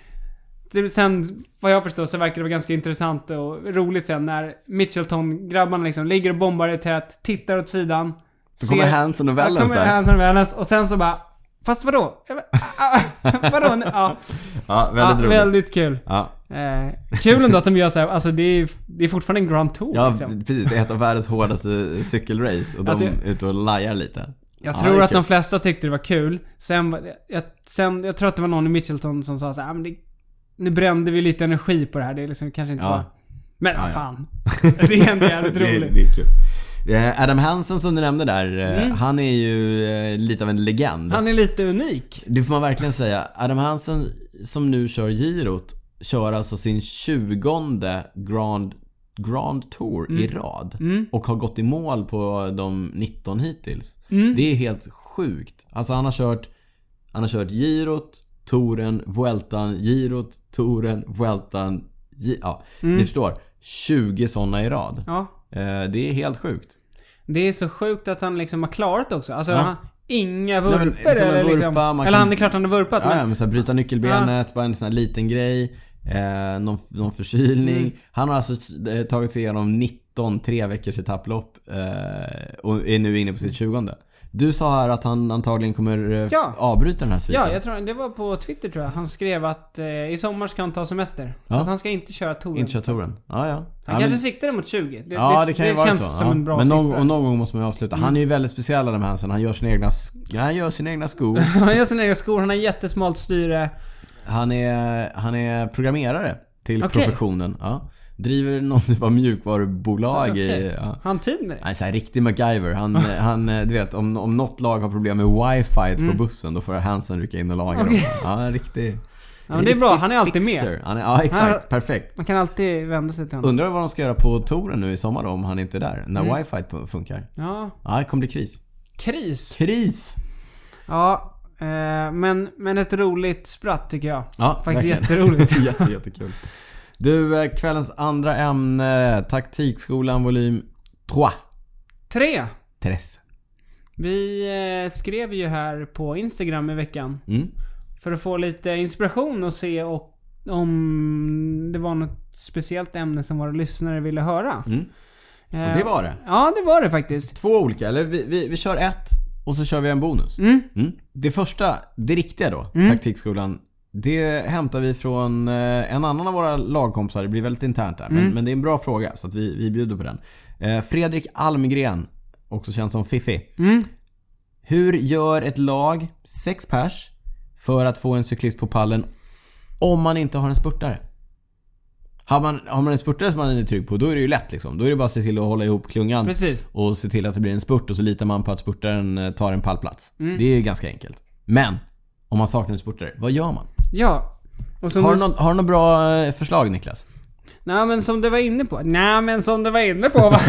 S2: Sen, vad jag förstår, så verkar det vara ganska intressant och roligt sen när Mitchelton-grabbarna liksom ligger och bombar i tät, tittar åt sidan.
S1: Så kommer
S2: ser-
S1: Hansen och
S2: Ja,
S1: Wellens
S2: kommer
S1: där.
S2: Hansen och Wellens och sen så bara... Fast vadå? Jag bara, ah, vadå? nu?" Ja,
S1: Ja,
S2: ja,
S1: väldigt roligt.
S2: väldigt kul.
S1: Ja.
S2: Eh, kul ändå att de gör så här, alltså det är, det är fortfarande en Grand Tour
S1: Ja,
S2: liksom.
S1: precis. Det är ett av världens hårdaste cykelrace och de
S2: Alltså,
S1: är ute och lajar lite.
S2: Jag
S1: Ja, det
S2: tror
S1: är
S2: att de
S1: kul.
S2: flesta tyckte det var kul. Sen, var det- jag, sen, jag tror att det var någon i Mitchelton som sa så här, "Ah, men det, nu brände vi lite energi på det här, det är liksom kanske inte
S1: Ja.
S2: var... Men vad
S1: ja.
S2: fan. Det är ändå jävligt
S1: Det är-
S2: roligt.
S1: det är kul. Eh, Adam Hansen som du nämnde där, eh, han är ju eh, lite av en legend.
S2: Mm. Han är lite unik.
S1: Det får man verkligen säga. Adam Hansen som nu kör girot kör alltså sin 20 Grand, Grand Tour i rad. Och har gått i mål på de 19 hittills. Det är helt sjukt. Alltså han har kört, han har kört girot, touren, vueltan, girot, touren, vueltan. Gi- ja, ni förstår. 20 sådana i rad.
S2: Ja.
S1: Eh, det är helt sjukt.
S2: Det är så sjukt att han liksom har klarat också. Alltså,
S1: Ja.
S2: han, inga
S1: men,
S2: vurpor
S1: som en
S2: eller liksom...
S1: vurpa, man
S2: Eller
S1: kan-
S2: han, det är klart han har vurpat
S1: Ja,
S2: men...
S1: ja, men så här, bryta nyckelbenet, bara en sån här liten grej. Eh, någon, någon förkylning.
S2: Mm.
S1: Han har alltså eh, tagit sig igenom 19 tre veckors etapplopp eh, och är nu inne på sitt 20 Du sa här att han antagligen kommer eh,
S2: Ja.
S1: avbryta den här sviten.
S2: Ja, jag tror det var på Twitter tror jag. Han skrev att eh, i sommar ska han ta semester. Så
S1: Ja.
S2: att han ska inte köra touren.
S1: Inte köra touren. Ja, ja.
S2: Han
S1: ja,
S2: kanske
S1: men-
S2: siktade mot 20. Det,
S1: Ja, det, kan ju vara
S2: känns
S1: så.
S2: som
S1: ja.
S2: en bra
S1: Men någon,
S2: siffra. Mm.
S1: och någon gång måste man ju avsluta. Han är ju väldigt speciell Adam Hansen. Han gör sina egna, sk- han gör sina egna skor.
S2: Han gör sina egna skor, han har jättesmalt styre.
S1: Han är, han är programmerare till
S2: Okej.
S1: professionen. Ja. Driver någon typ av mjukvarubolag i...
S2: Okej.
S1: Ja.
S2: Har han tid med det?
S1: Nej, så här riktig MacGyver. Han, han, eh, du vet, om, om något lag har problem med wifi på bussen, då får Hansen rycka in och laga dem. Ja, en riktig...
S2: Mm. Ja, men det är bra. Han är alltid med.
S1: med. Han är, ja, exakt.
S2: Han-
S1: Perfekt.
S2: Man kan alltid vända sig till honom.
S1: Undrar vad de ska göra på touren nu i sommar då, om han inte är där. När
S2: Mm.
S1: wifi på- funkar.
S2: Ja,
S1: Ja, det kommer bli kris.
S2: kris.
S1: Kris!
S2: Ja, eh, men, men ett roligt spratt tycker jag.
S1: Ja,
S2: Faktiskt
S1: verkligen.
S2: jätteroligt.
S1: Jätte, jättekul. Du, eh, kvällens andra ämne. Taktikskolan volym 3.
S2: Tre.
S1: Träff.
S2: Vi eh, skrev ju här på Instagram i veckan.
S1: Mm.
S2: För att få lite inspiration och se och om det var något speciellt ämne som våra lyssnare ville höra.
S1: Mm.
S2: Eh,
S1: Och det var det.
S2: Ja, det var det faktiskt.
S1: Två olika, eller vi, vi, vi kör ett och så kör vi en bonus.
S2: Mm.
S1: Det första, det riktiga då, taktikskolan. Det hämtar vi från eh, en annan av våra lagkompisar. Det blir väldigt internt där. Men, men det är en bra fråga så att vi, vi bjuder på den. Eh, Fredrik Almgren, också känd som Fifi.
S2: Mm.
S1: Hur gör ett lag, sex pers, för att få en cyklist på pallen om man inte har en spurtare? Har man, har man en spurtare som man är trygg på, då är det ju lätt liksom. Då är det bara att se till att hålla ihop klungan
S2: Precis.
S1: och se till att det blir en spurt och så litar man på att spurtaren eh, tar en pallplats. Det är ju ganska enkelt. Men, om man saknar en spurtare, vad gör man?
S2: Ja. Och som
S1: Har
S2: du
S1: du
S2: s-
S1: något, har du något bra eh, förslag Niklas?
S2: Nej men som du var inne på. Nej men som du var inne på va?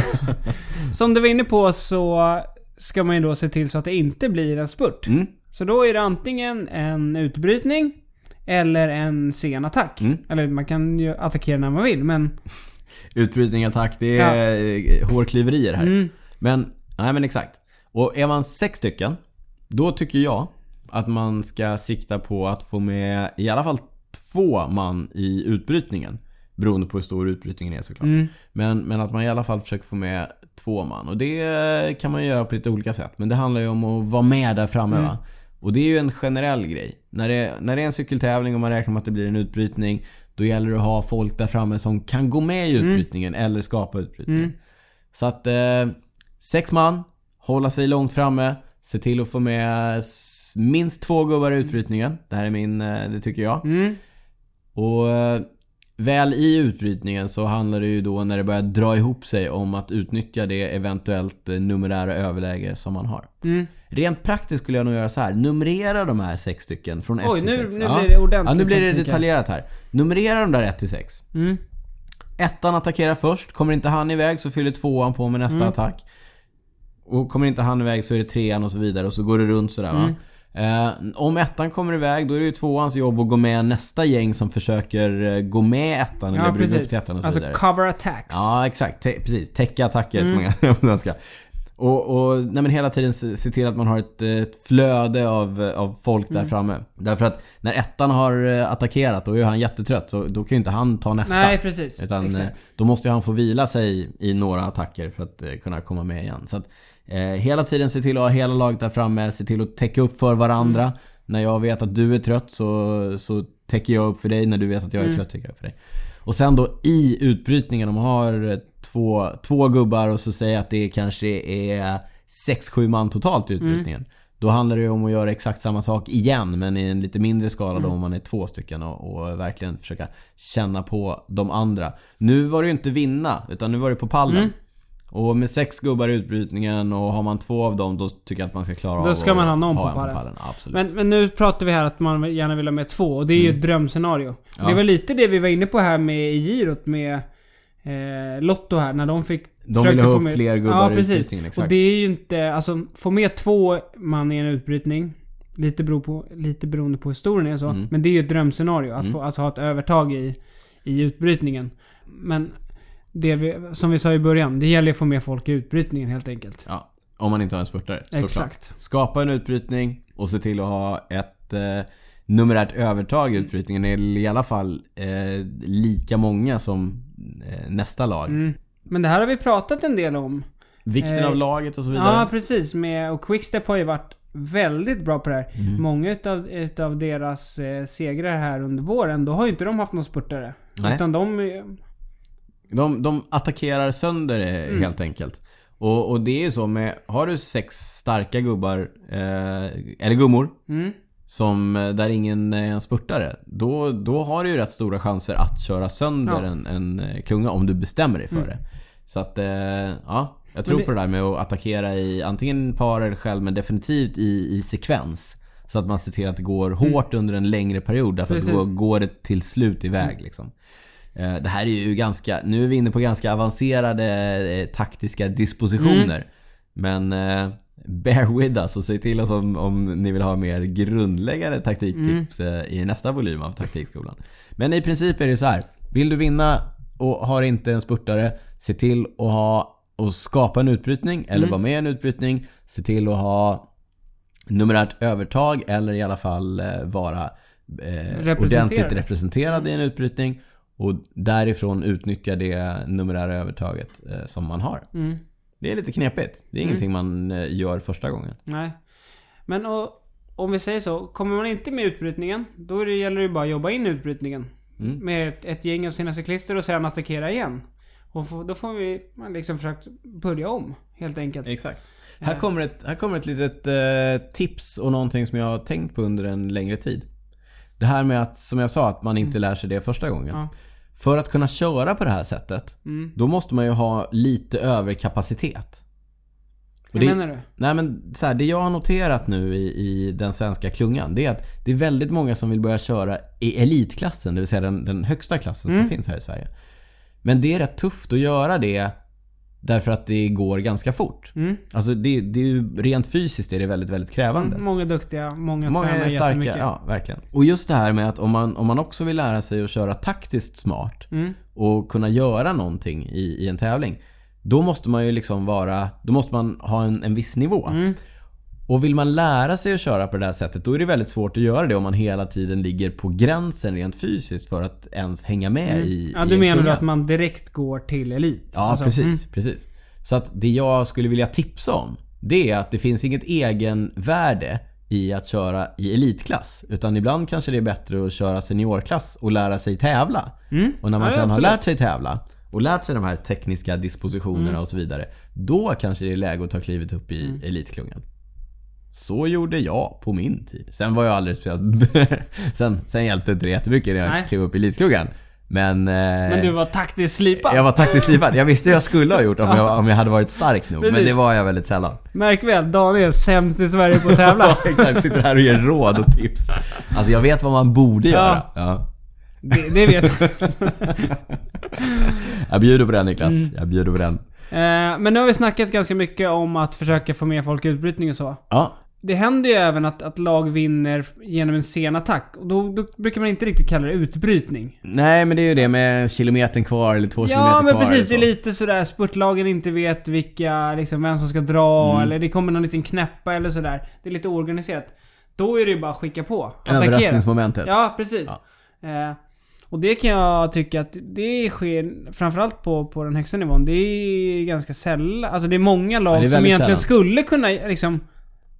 S2: som du var inne på så ska man ju då se till så att det inte blir en spurt.
S1: Mm.
S2: Så då är det antingen en utbrytning eller en sen attack.
S1: Mm.
S2: Eller man kan ju attackera när man vill men...
S1: Utbrytning, attack, det är ja. hårklyverier här. Men, nej men exakt. Och är man sex stycken, då tycker jag att man ska sikta på att få med i alla fall två man i utbrytningen. Beroende på hur stor utbrytningen är såklart. Men, men att man i alla fall försöker få med två man. Och det kan man ju göra på lite olika sätt. Men det handlar ju om att vara med där framme va. Och det är ju en generell grej. När det, när det är en cykeltävling och man räknar med att det blir en utbrytning. Då gäller det att ha folk där framme som kan gå med i utbrytningen eller skapa utbrytningen. Så att eh, sex man, hålla sig långt framme, se till att få med s- minst två gubbar i utbrytningen. Det här är min, eh, det tycker jag.
S2: Mm.
S1: Och eh, väl i utbrytningen så handlar det ju då när det börjar dra ihop sig om att utnyttja det eventuellt eh, numerära överläge som man har.
S2: Mm.
S1: Rent praktiskt skulle jag nog göra så här. Numrera de här sex stycken från 1
S2: Oj,
S1: till
S2: nu-
S1: 6.
S2: nu blir det ordentligt,
S1: Ja, nu blir det
S2: tänker jag.
S1: detaljerat här. Numrera de där 1 till 6.
S2: Mm.
S1: Ettan attackerar först. Kommer inte han iväg så fyller tvåan på med nästa
S2: Mm.
S1: attack. Och kommer inte han iväg så är det trean och så vidare och så går det runt sådär va. Eh, om ettan kommer iväg då är det ju tvåans jobb att gå med nästa gäng som försöker eh, gå med ettan eller
S2: Ja
S1: bryta upp
S2: precis.
S1: till ettan och så
S2: Alltså Mm.
S1: vidare.
S2: cover attacks.
S1: Ja, exakt. Te- precis. Täcka attacker som man säger på svenska. Och, och nej, men hela tiden se se till att man har ett, eh, ett flöde av, eh, av folk
S2: Mm.
S1: där framme. Därför att när ettan har eh, attackerat då är han jättetrött så då kan ju inte han ta nästa.
S2: Nej precis.
S1: Utan eh,
S2: Exakt.
S1: då måste ju han få vila sig i några attacker för att eh, kunna komma med igen. Så att, eh, hela tiden se till att ha hela laget där framme, se till att täcka upp för varandra.
S2: Mm.
S1: När jag vet att du är trött så, så täcker jag upp för dig. När du vet att
S2: Mm.
S1: jag är trött täcker jag upp för dig. Och sen då i utbrytningen, om man har eh, två, två gubbar och så säger att det kanske är 6-7 man totalt i utbrytningen.
S2: Mm.
S1: Då handlar det ju om att göra exakt samma sak igen men i en lite mindre skala
S2: Mm.
S1: då om man är två stycken och, och verkligen försöka känna på de andra. Nu var det ju inte vinna utan nu var det på pallen.
S2: Mm.
S1: Och med sex gubbar i utbrytningen och har man två av dem då tycker jag att man ska klara
S2: Då
S1: av
S2: ska
S1: att
S2: man ha någon på
S1: en
S2: pallen.
S1: Absolut.
S2: Men, men nu pratar vi här att man gärna vill ha med två och det är ju
S1: Mm.
S2: ett drömscenario. Det var lite det vi var inne på här med i girot med eh, Lotto här när de fick...
S1: De
S2: försökte
S1: ville ha
S2: få
S1: upp
S2: med-
S1: fler gubbar
S2: ja,
S1: i
S2: precis.
S1: utbrytningen, exakt.
S2: Och det är ju inte... Alltså få med två man i en utbrytning. Lite, beror på, lite beroende på historien är så.
S1: Mm.
S2: Men det är ju ett drömscenario. Att få, alltså, ha ett övertag i, i utbrytningen. Men det vi, som vi sa i början, det gäller att få med folk i utbrytningen helt enkelt.
S1: Ja, om man inte har en spurtare. såklart.
S2: Exakt.
S1: Skapa en utbrytning och se till att ha ett eh, numerärt övertag i utbrytningen. Eller i alla fall eh, lika många som eh, nästa lag.
S2: Mm. Men det här har vi pratat en del om.
S1: Vikten
S2: Eh,
S1: av laget och så vidare.
S2: Ja, precis. Med, och Quickstep har ju varit väldigt bra på det här.
S1: Mm.
S2: Många utav, utav deras eh, segrar här under våren, då har ju inte de haft någon spurtare.
S1: Nej.
S2: Utan de... eh,
S1: De, de attackerar sönder det
S2: Mm.
S1: helt enkelt. Och,
S2: Mm.
S1: och det är ju så med, har du sex starka gubbar, eh, eller gummor, som, eh, där ingen är en spurtare. Då, då har du ju rätt stora chanser att köra sönder
S2: Ja. Mm.
S1: en, en eh, klunga om du bestämmer dig för det. Så att, eh, ja. Jag tror
S2: det-
S1: på det där med att attackera i antingen par eller själv men definitivt i, i sekvens. Så att man ser till att det går hårt under en längre period därför att då
S2: Mm. Precis. Mm.
S1: går det till slut iväg liksom. Eh, Det här är ju ganska, nu är vi inne på ganska avancerade eh, taktiska
S2: Mm.
S1: dispositioner. Men eh, bear with us och se till oss om, om ni vill ha mer grundläggande taktiktips
S2: Mm.
S1: eh, i nästa volym av Taktikskolan. Men i princip är det så här. Vill du vinna och har inte en spurtare, se till att ha och skapa en utbrytning eller
S2: Mm.
S1: vara med i en utbrytning. Se till att ha numerärt övertag eller i alla fall eh, vara eh,
S2: Representerad.
S1: ordentligt representerad i en utbrytning och därifrån utnyttja det numerära övertaget eh, som man har.
S2: Mm.
S1: Det är lite knepigt. Det är ingenting man eh, gör första gången.
S2: Nej. Men och, om vi säger så, kommer man inte med utbrytningen, då är det, gäller det ju bara att jobba in utbrytningen.
S1: Mm.
S2: Med ett, ett gäng av sina cyklister och sen attackera igen. Och få, då får vi man liksom försökt börja om, helt enkelt.
S1: Exakt. Här kommer ett, här kommer ett litet eh, tips och någonting som jag har tänkt på under en längre tid. Det här med att, som jag sa, att man inte lär sig det första gången.
S2: Ja.
S1: För att kunna köra på det här sättet, då måste man ju ha lite överkapacitet.
S2: Hur
S1: det-
S2: menar du?
S1: Nej men så här, det jag har noterat nu i, i den svenska klungan det är att det är väldigt många som vill börja köra i elitklassen, det vill säga den, den högsta klassen som finns här i Sverige. Men det är rätt tufft att göra det därför att det går ganska fort.
S2: Mm.
S1: Alltså det, det är ju, rent fysiskt är det väldigt, väldigt krävande.
S2: Många duktiga, många,
S1: Många
S2: tränar
S1: är starka,
S2: jättemycket.
S1: ja verkligen. Och just det här med att om man, om man också vill lära sig att köra taktiskt smart
S2: Mm.
S1: och kunna göra någonting i, i en tävling. Då måste man ju liksom vara, då måste man ha en, en viss nivå.
S2: Mm.
S1: Och vill man lära sig att köra på det här sättet då är det väldigt svårt att göra det om man hela tiden ligger på gränsen rent fysiskt för att ens hänga med i
S2: Mm. Ja,
S1: i
S2: du
S1: en
S2: menar du
S1: klunga.
S2: att man direkt går till elit?
S1: Ja,
S2: Alltså,
S1: precis,
S2: mm.
S1: precis. Så att det jag skulle vilja tipsa om det är att det finns inget egenvärde i att köra i elitklass. Utan ibland kanske det är bättre att köra seniorklass och lära sig tävla. Och när man
S2: Mm. Ja,
S1: sen har
S2: absolut.
S1: lärt sig tävla och lärt sig de här tekniska dispositionerna
S2: Mm.
S1: och så vidare. Då kanske det är läge att ta klivet upp i elitklungan. Så gjorde jag på min tid. Sen var jag aldrig speciellt... sen, sen hjälpte inte det jättemycket när jag
S2: Nej.
S1: klev upp i elitklungan. Men... eh,
S2: Men du var taktiskt slipad?
S1: Jag var taktiskt livad. Jag visste hur jag skulle ha gjort om, jag, om jag hade varit stark nog. Men
S2: Precis.
S1: det var jag väldigt sällan.
S2: Märk väl, Daniel är sämst i Sverige på att tävla.
S1: Ja, exakt. Sitter här och ger råd och tips. Alltså jag vet vad man borde göra. Ja.
S2: det, det vet jag.
S1: Jag bjuder på den Niklas.
S2: Mm.
S1: Jag bjuder på den.
S2: Eh, Men nu har vi snackat ganska mycket om att försöka få med folk i utbrytning och så.
S1: Ja,
S2: Det händer ju även att, att lag vinner genom en sen attack. Och då, då brukar man inte riktigt kalla det utbrytning.
S1: Nej men det är ju det med kilometern kvar eller två
S2: Ja,
S1: kilometer
S2: men
S1: kvar. eller
S2: precis. Det är
S1: så.
S2: lite sådär spurtlagen inte vet vilka, liksom, vem som ska dra
S1: Mm.
S2: eller det kommer någon liten knäppa eller sådär. Det är lite oorganiserat. Då är det ju bara att skicka på. Attackera.
S1: Överraskningsmomentet.
S2: Ja, precis. Eh, och det kan jag tycka att det sker, framförallt på, på den högsta nivån, det är ganska sällan. Alltså det är många lag
S1: Ja, det är
S2: som
S1: väldigt
S2: egentligen
S1: sällan.
S2: skulle kunna liksom...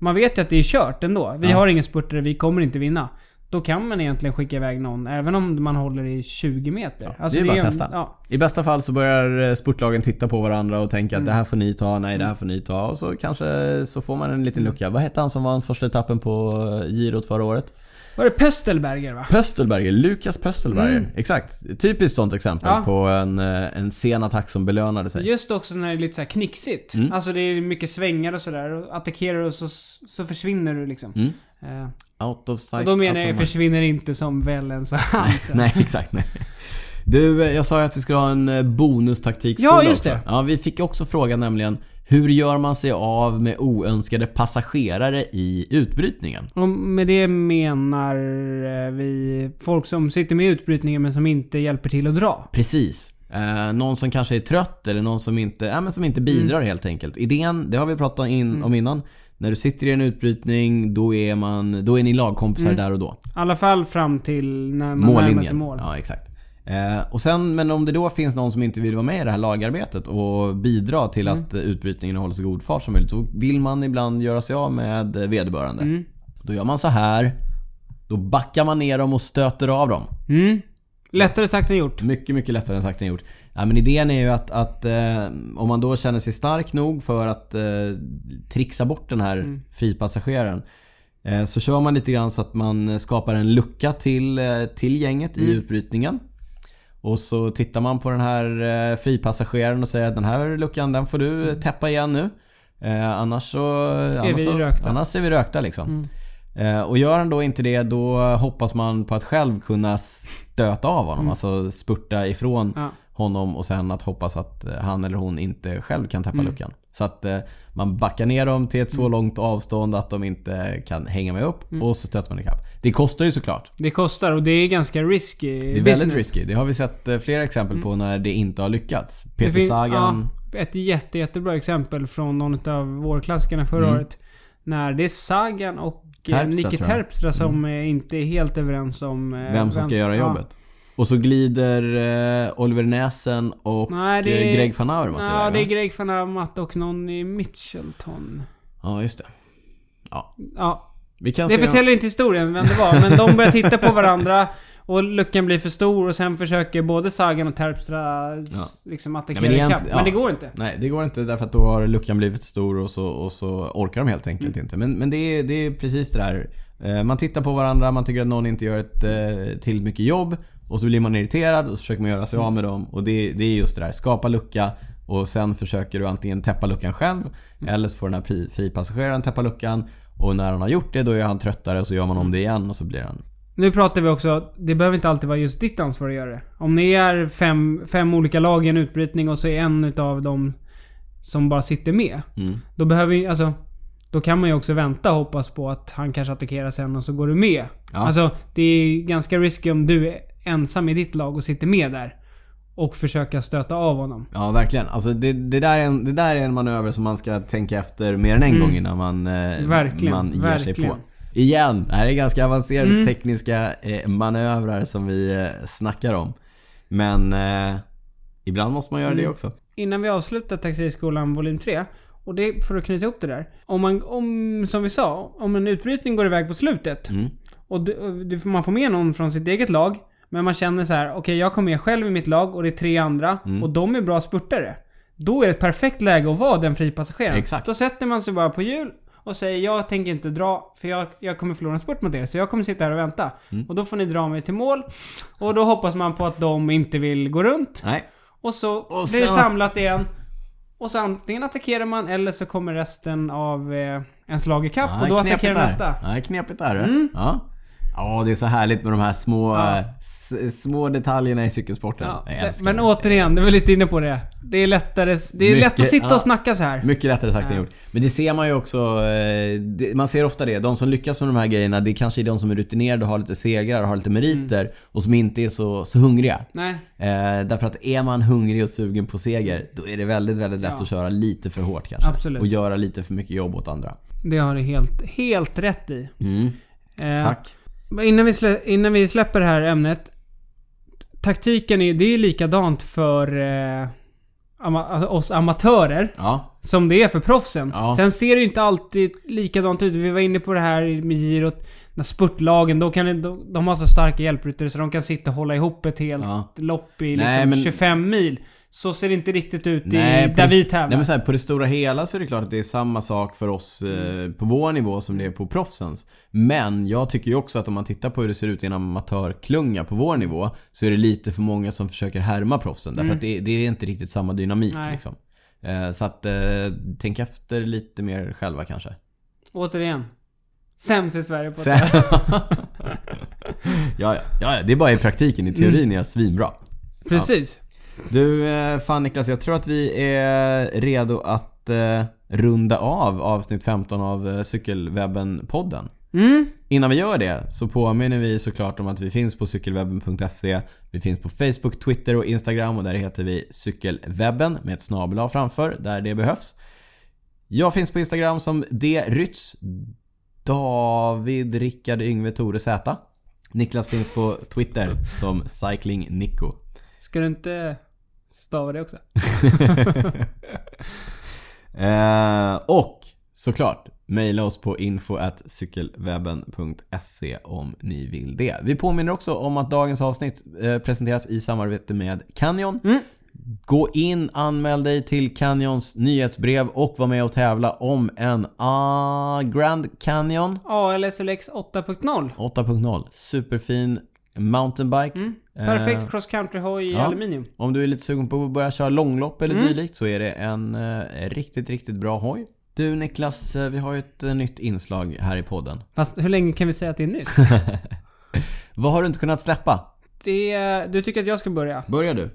S2: Man vet ju att det är kört ändå. Vi
S1: Ja.
S2: har ingen spurtare, vi kommer inte vinna. Då kan man egentligen skicka iväg någon, även om man håller i 20 meter. Alltså,
S1: det är bara
S2: en-
S1: att testa.
S2: Ja,
S1: I bästa fall så börjar eh, sportlagen titta på varandra och
S2: Mm.
S1: tänka att det här får ni ta, nej det här får ni ta och så kanske så får man en liten lucka. Vad hette han som vann första etappen på eh, girot förra året?
S2: var det Pestelberger va?
S1: Pöstelberger, Lukas Pöstelberger. Exakt. Typiskt sånt exempel
S2: Mm. Ja.
S1: på en, eh, en sen attack som belönade sig.
S2: Just också när det är lite så här knixigt.
S1: Mm.
S2: Alltså det är mycket svängar och sådär. Och Attackerar och så, så försvinner du liksom.
S1: Mm.
S2: Eh,
S1: Out of sight,
S2: och då menar
S1: out
S2: jag
S1: of
S2: försvinner inte som Wellens och Hansen.
S1: Nej, exakt. Nej. Du, eh, jag sa ju att vi skulle ha en eh, bonustaktikskola
S2: Ja, just det.
S1: också. Ja, vi fick också frågan nämligen hur gör man sig av med oönskade passagerare i utbrytningen?
S2: Och med det menar eh, vi folk som sitter med i utbrytningen men som inte hjälper till att dra.
S1: Precis. Eh, någon som kanske är trött eller någon som inte, ja, men som
S2: Mm.
S1: inte bidrar helt enkelt. Idén, det har vi pratat in, om innan. När du sitter i en utbrytning, då är, man, då är ni
S2: Mm.
S1: lagkompisar där och då.
S2: I alla fall fram till när man närmar sig
S1: Mållinjen.
S2: mål.
S1: Ja, exakt. Eh, och sen, men om det då finns någon som inte vill vara med i det här lagarbetet och bidra till
S2: Mm.
S1: att eh, utbrytningen hålls så god fart som möjligt. Då vill man ibland göra sig av med eh, vederbörande.
S2: Mm.
S1: Då gör man så här. Då backar man ner dem och stöter av dem.
S2: Mm. Lättare sagt än gjort.
S1: Mycket, mycket lättare än sagt än gjort. Ja, men idén är ju att, att eh, om man då
S2: Mm.
S1: känner sig stark nog för att eh, trixa bort den här fripassageraren Eh, Så kör man lite grann så att man skapar en lucka till, eh, till gänget i
S2: Mm.
S1: utbrytningen. Och så tittar man på den här eh, fripassageraren och säger att den här luckan den får du täppa igen nu. Eh, annars så... annars,
S2: Mm. vi
S1: så-
S2: rökta. Mm.
S1: annars är vi rökta liksom. Eh, och gör han då inte det då hoppas man på att själv kunna stöta av honom. Alltså spurta ifrån
S2: Mm. Ja.
S1: honom och sen att hoppas att eh, han eller hon inte själv kan
S2: Mm.
S1: täppa luckan. Så att eh, man backar ner dem till ett så långt avstånd att de inte kan hänga med upp
S2: Mm.
S1: och så stöter man ikapp. Det kostar ju såklart.
S2: Det kostar och det är ganska risky
S1: Det är väldigt risky. Det har vi sett eh, flera exempel på när det inte har lyckats.
S2: Mm. Det
S1: Peter
S2: fin-
S1: Sagan.
S2: Ja, ett jätte, jättebra exempel från någon av vårklassikerna förra året. När det är Sagan och Terpstra,
S1: Mm. Terpstra,
S2: Niki
S1: tror jag. Mm.
S2: Terpstra som eh, inte är helt överens om... eh,
S1: Vem som ska göra
S2: ja.
S1: jobbet. Och så glider eh, Oliver Näsen och
S2: Nej, det
S1: eh,
S2: är-
S1: Greg van Auermatt iväg,
S2: Ja,
S1: va?
S2: det är Greg van Amat och någon i Mitchelton.
S1: Ja, just det. Ja.
S2: Ja,
S1: Vi kan
S2: det
S1: se om-
S2: förtäljer inte historien vem det var, men de börjar titta på varandra och luckan blir för stor och sen försöker både Sagan och Terpstra s- liksom attackera
S1: Nej, men egent-
S2: ikapp. Men
S1: ja.
S2: det går inte.
S1: Nej, det går inte därför att då har luckan blivit stor och så, och så orkar de helt enkelt inte. Men, men det, är, det är precis det där. Eh, Man tittar på varandra, man tycker att någon inte gör ett eh, tillräckligt mycket jobb och så blir man irriterad och så försöker man göra sig av med dem. Och det, det är just det där, skapa lucka och sen försöker du antingen täppa luckan själv eller så får den här pri- fripassageraren täppa luckan och när han har gjort det då är han tröttare och så gör man om det igen och så blir han...
S2: Nu pratar vi också, det behöver inte alltid vara just ditt ansvar att göra det. Om ni är fem, fem olika lag i en utbrytning och så är en utav dem som bara sitter med.
S1: Mm.
S2: Då behöver ju, alltså... Då kan man ju också vänta och hoppas på att han kanske attackerar sen och så går du med.
S1: Ja.
S2: Alltså, det är ju ganska risky om du är ensam i ditt lag och sitter med där. Och försöka stöta av honom.
S1: Ja, verkligen. Alltså det, det, där är en, det där är en manöver som man ska tänka efter mer än en gång innan man, eh,
S2: Mm. Verkligen,
S1: man ger sig
S2: verkligen. Mm.
S1: på. Igen, det här är ganska avancerade tekniska eh, manövrar som vi eh, snackar om. Men eh, ibland måste man göra
S2: Mm.
S1: det också.
S2: Innan vi avslutar Taxeriskolan volym 3. Och det är för att knyta ihop det där. Om man, om, som vi sa, om en utbrytning går iväg på slutet.
S1: Mm.
S2: Och du, och du, man får med någon från sitt eget lag. Men man känner så här: okej jag kom med själv i mitt lag och det är tre andra.
S1: Mm.
S2: Och de är bra spurtare. Då är det ett perfekt läge att vara den fripassageraren.
S1: Exakt.
S2: Då sätter man sig bara på hjul och säger jag tänker inte dra för jag, jag kommer förlora en spurt mot er. Så jag kommer sitta här och vänta.
S1: Mm.
S2: Och då får ni dra mig till mål. Och då hoppas man på att de inte vill gå runt.
S1: Nej.
S2: Och så
S1: Och
S2: blir det
S1: sen-
S2: samlat igen. Och så antingen attackerar man eller så kommer resten av eh, ens lag ikapp och då
S1: knepigt
S2: attackerar
S1: där.
S2: nästa.
S1: Ja, knepigt där. Mm. Ja. Ja, det är så härligt med de här små, eh, s- små detaljerna i cykelsporten.
S2: Ja,
S1: Jag
S2: det,
S1: älskar
S2: men
S1: det.
S2: återigen, du var lite inne på det. Det är lättare... Det är lätt att
S1: Mycket-
S2: sitta
S1: ja.
S2: och snacka så här.
S1: Mycket lättare sagt än gjort. Men det ser man ju också. eh, det- Man ser ofta det. De som lyckas med de här grejerna, det kanske är de som är rutinerade och har lite segrar och har lite meriter
S2: Mm.
S1: och som inte är så, så hungriga.
S2: Nej.
S1: Eh, därför att är man hungrig och sugen på seger, då är det väldigt, väldigt lätt
S2: Ja.
S1: att köra lite för hårt kanske.
S2: Absolut.
S1: Och göra lite för mycket jobb åt andra.
S2: Det har du helt, helt rätt i.
S1: Mm.
S2: Eh,
S1: Tack.
S2: men Innan vi, slä, innan vi släpper det här ämnet. Taktiken är, det är likadant för eh, ama, alltså oss amatörer
S1: Ja.
S2: som det är för proffsen.
S1: Ja.
S2: Sen ser det ju inte alltid likadant ut. Vi var inne på det här med girot. När spurtlagen, då kan det, de, de har så starka hjälpryttare så de kan sitta och hålla ihop ett helt
S1: Ja.
S2: lopp
S1: Nej,
S2: i liksom
S1: men-
S2: 25 mil. Så ser det inte riktigt ut
S1: Nej,
S2: i,
S1: på
S2: där
S1: det-
S2: vi
S1: Nej,
S2: tävlar.
S1: men så här, på det stora hela så är det klart att det är samma sak för oss eh, på vår nivå som det är på proffsens. Men jag tycker ju också att om man tittar på hur det ser ut i en amatörklunga på vår nivå så är det lite för många som försöker härma proffsen. Därför att det, det är inte riktigt samma dynamik
S2: Mm. Nej.
S1: liksom. Eh, så att eh, tänk efter lite mer själva kanske.
S2: Återigen. Sämst i Sverige på
S1: Sen...
S2: det.
S1: ja, ja, ja, ja, det är bara i praktiken. I teorin
S2: Mm.
S1: är jag svinbra.
S2: Precis.
S1: Du, eh, fan Niklas, jag tror att vi är redo att eh, runda av avsnitt 15 av eh, Cykelwebben-podden.
S2: Mm.
S1: Innan vi gör det så påminner vi såklart om att vi finns på cykelwebben.se. Vi finns på Facebook, Twitter och Instagram och där heter vi cykelwebben med ett snabel A framför där det behövs. Jag finns på Instagram som drytz. David Rickard Yngve Tore Z. Niklas finns på Twitter som Cycling Nico.
S2: Ska du inte stava det också?
S1: Eh, och såklart, mejla oss på info cykelwebben.se om ni vill det. Vi påminner också om att dagens avsnitt eh, presenteras i samarbete med Canyon. Gå in, anmäl dig till Canyons nyhetsbrev och var med och tävla om en ah, Grand Canyon
S2: ALSLX 8.0.
S1: 8.0. Superfin mountainbike.
S2: Perfekt cross country hoj i
S1: Eh. ja.
S2: aluminium.
S1: Om du är lite sugen på att börja köra långlopp eller dylikt så är det en eh, riktigt, riktigt bra hoj. Du Niklas, eh, vi har ju ett eh, nytt inslag här i podden.
S2: Fast hur länge kan vi säga att det är nytt?
S1: Vad har du inte kunnat släppa?
S2: det, du tycker att jag ska börja?
S1: Börjar du?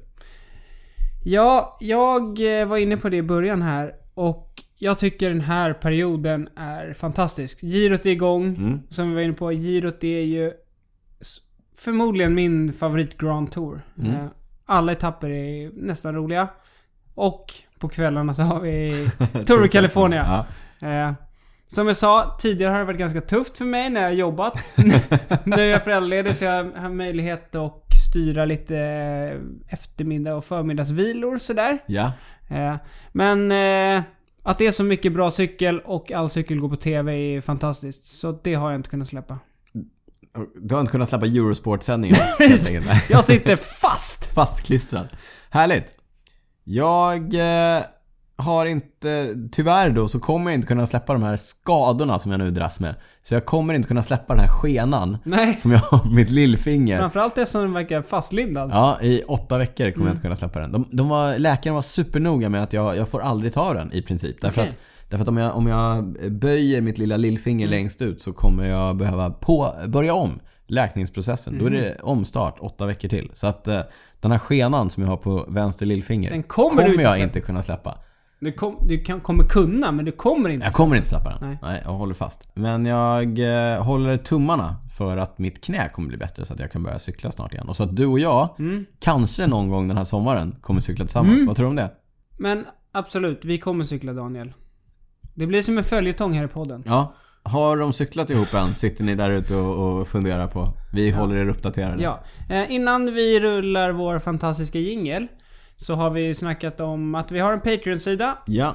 S2: Ja, jag eh, var inne på det i början här och jag tycker den här perioden är fantastisk. Girot är igång, som vi var inne på. Girot är ju s- förmodligen min favorit Grand Tour. Eh, Alla etapper är nästan roliga. Och på kvällarna så har vi Tour California.
S1: Ja.
S2: Eh, som jag sa, tidigare har det varit ganska tufft för mig när jag har jobbat. nu är jag föräldraledig så jag har möjlighet att styra lite eh, eftermiddag och förmiddagsvilor sådär.
S1: Ja.
S2: Eh, men eh, att det är så mycket bra cykel och all cykel går på TV är fantastiskt. Så det har jag inte kunnat släppa.
S1: Du har inte kunnat släppa Eurosport-sändningen.
S2: Jag sitter fast!
S1: Fastklistrad. Härligt. Jag eh, har inte, tyvärr då, så kommer jag inte kunna släppa de här skadorna som jag nu dras med. Så jag kommer inte kunna släppa den här skenan
S2: Nej,
S1: som jag har på mitt lillfinger.
S2: framförallt eftersom den verkar fastlindad.
S1: Ja, i åtta veckor kommer jag
S2: Mm.
S1: inte kunna släppa den. De, de var, läkaren var supernoga med att jag, jag får aldrig ta den i princip. Därför
S2: Okej.
S1: att, därför att om, jag, om jag böjer mitt lilla lillfinger
S2: Mm.
S1: längst ut så kommer jag behöva på, börja om läkningsprocessen.
S2: Mm.
S1: Då är det omstart åtta veckor till. Så att eh, den här skenan som jag har på vänster lillfinger
S2: Den kommer du inte
S1: jag
S2: släppa.
S1: inte kunna släppa.
S2: Du, kom, du kan, kommer kunna, men du kommer inte.
S1: Jag kommer inte släppa den.
S2: Nej.
S1: Nej. jag håller fast. Men jag eh, håller tummarna för att mitt knä kommer bli bättre så att jag kan börja cykla snart igen. Och så att du och jag,
S2: Mm.
S1: kanske någon gång den här sommaren, kommer cykla tillsammans. Vad tror du om det?
S2: Men absolut, vi kommer cykla Daniel. Det blir som en följetong här i podden.
S1: Ja. Har de cyklat ihop än? Sitter ni där ute och, och funderar på? Vi håller er uppdaterade.
S2: Ja. Eh, innan vi rullar vår fantastiska jingel så har vi snackat om att vi har en Patreon-sida.
S1: Ja.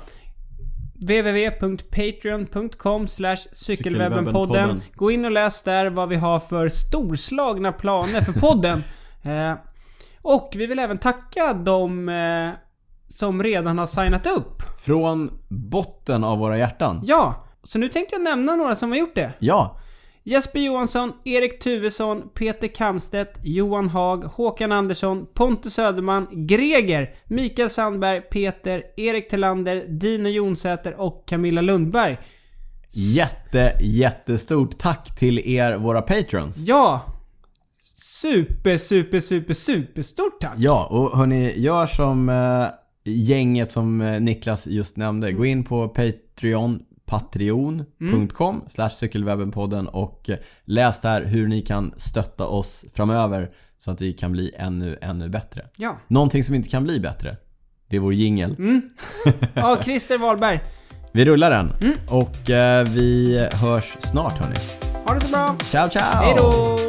S2: www.patreon.com cykelwebbenpodden.
S1: Cykelwebbenpodden.
S2: Gå in och läs där vad vi har för storslagna planer för podden. eh, och vi vill även tacka de eh, som redan har signat upp.
S1: Från botten av våra hjärtan.
S2: Ja, så nu tänkte jag nämna några som har gjort det.
S1: Ja.
S2: Jesper Johansson, Erik Tuvesson, Peter Kamstedt, Johan Haag, Håkan Andersson, Pontus Söderman, Greger, Mikael Sandberg, Peter, Erik Tillander, Dino Jonsäter och Camilla Lundberg.
S1: Jätte, jättestort tack till er, våra patrons.
S2: Ja! Super, super, super, super stort tack!
S1: Ja, och hörni, gör som eh, gänget som eh, Niklas just nämnde. Gå in på Patreon patreon.com slash cykelwebbenpodden och eh, läs där hur ni kan stötta oss framöver så att vi kan bli ännu, ännu bättre.
S2: Ja.
S1: Någonting som inte kan bli bättre, det är vår jingel.
S2: Ja, Christer Wahlberg.
S1: Vi rullar den och eh, vi hörs snart hörni.
S2: Ha det så bra!
S1: Ciao ciao!
S2: Hejdå!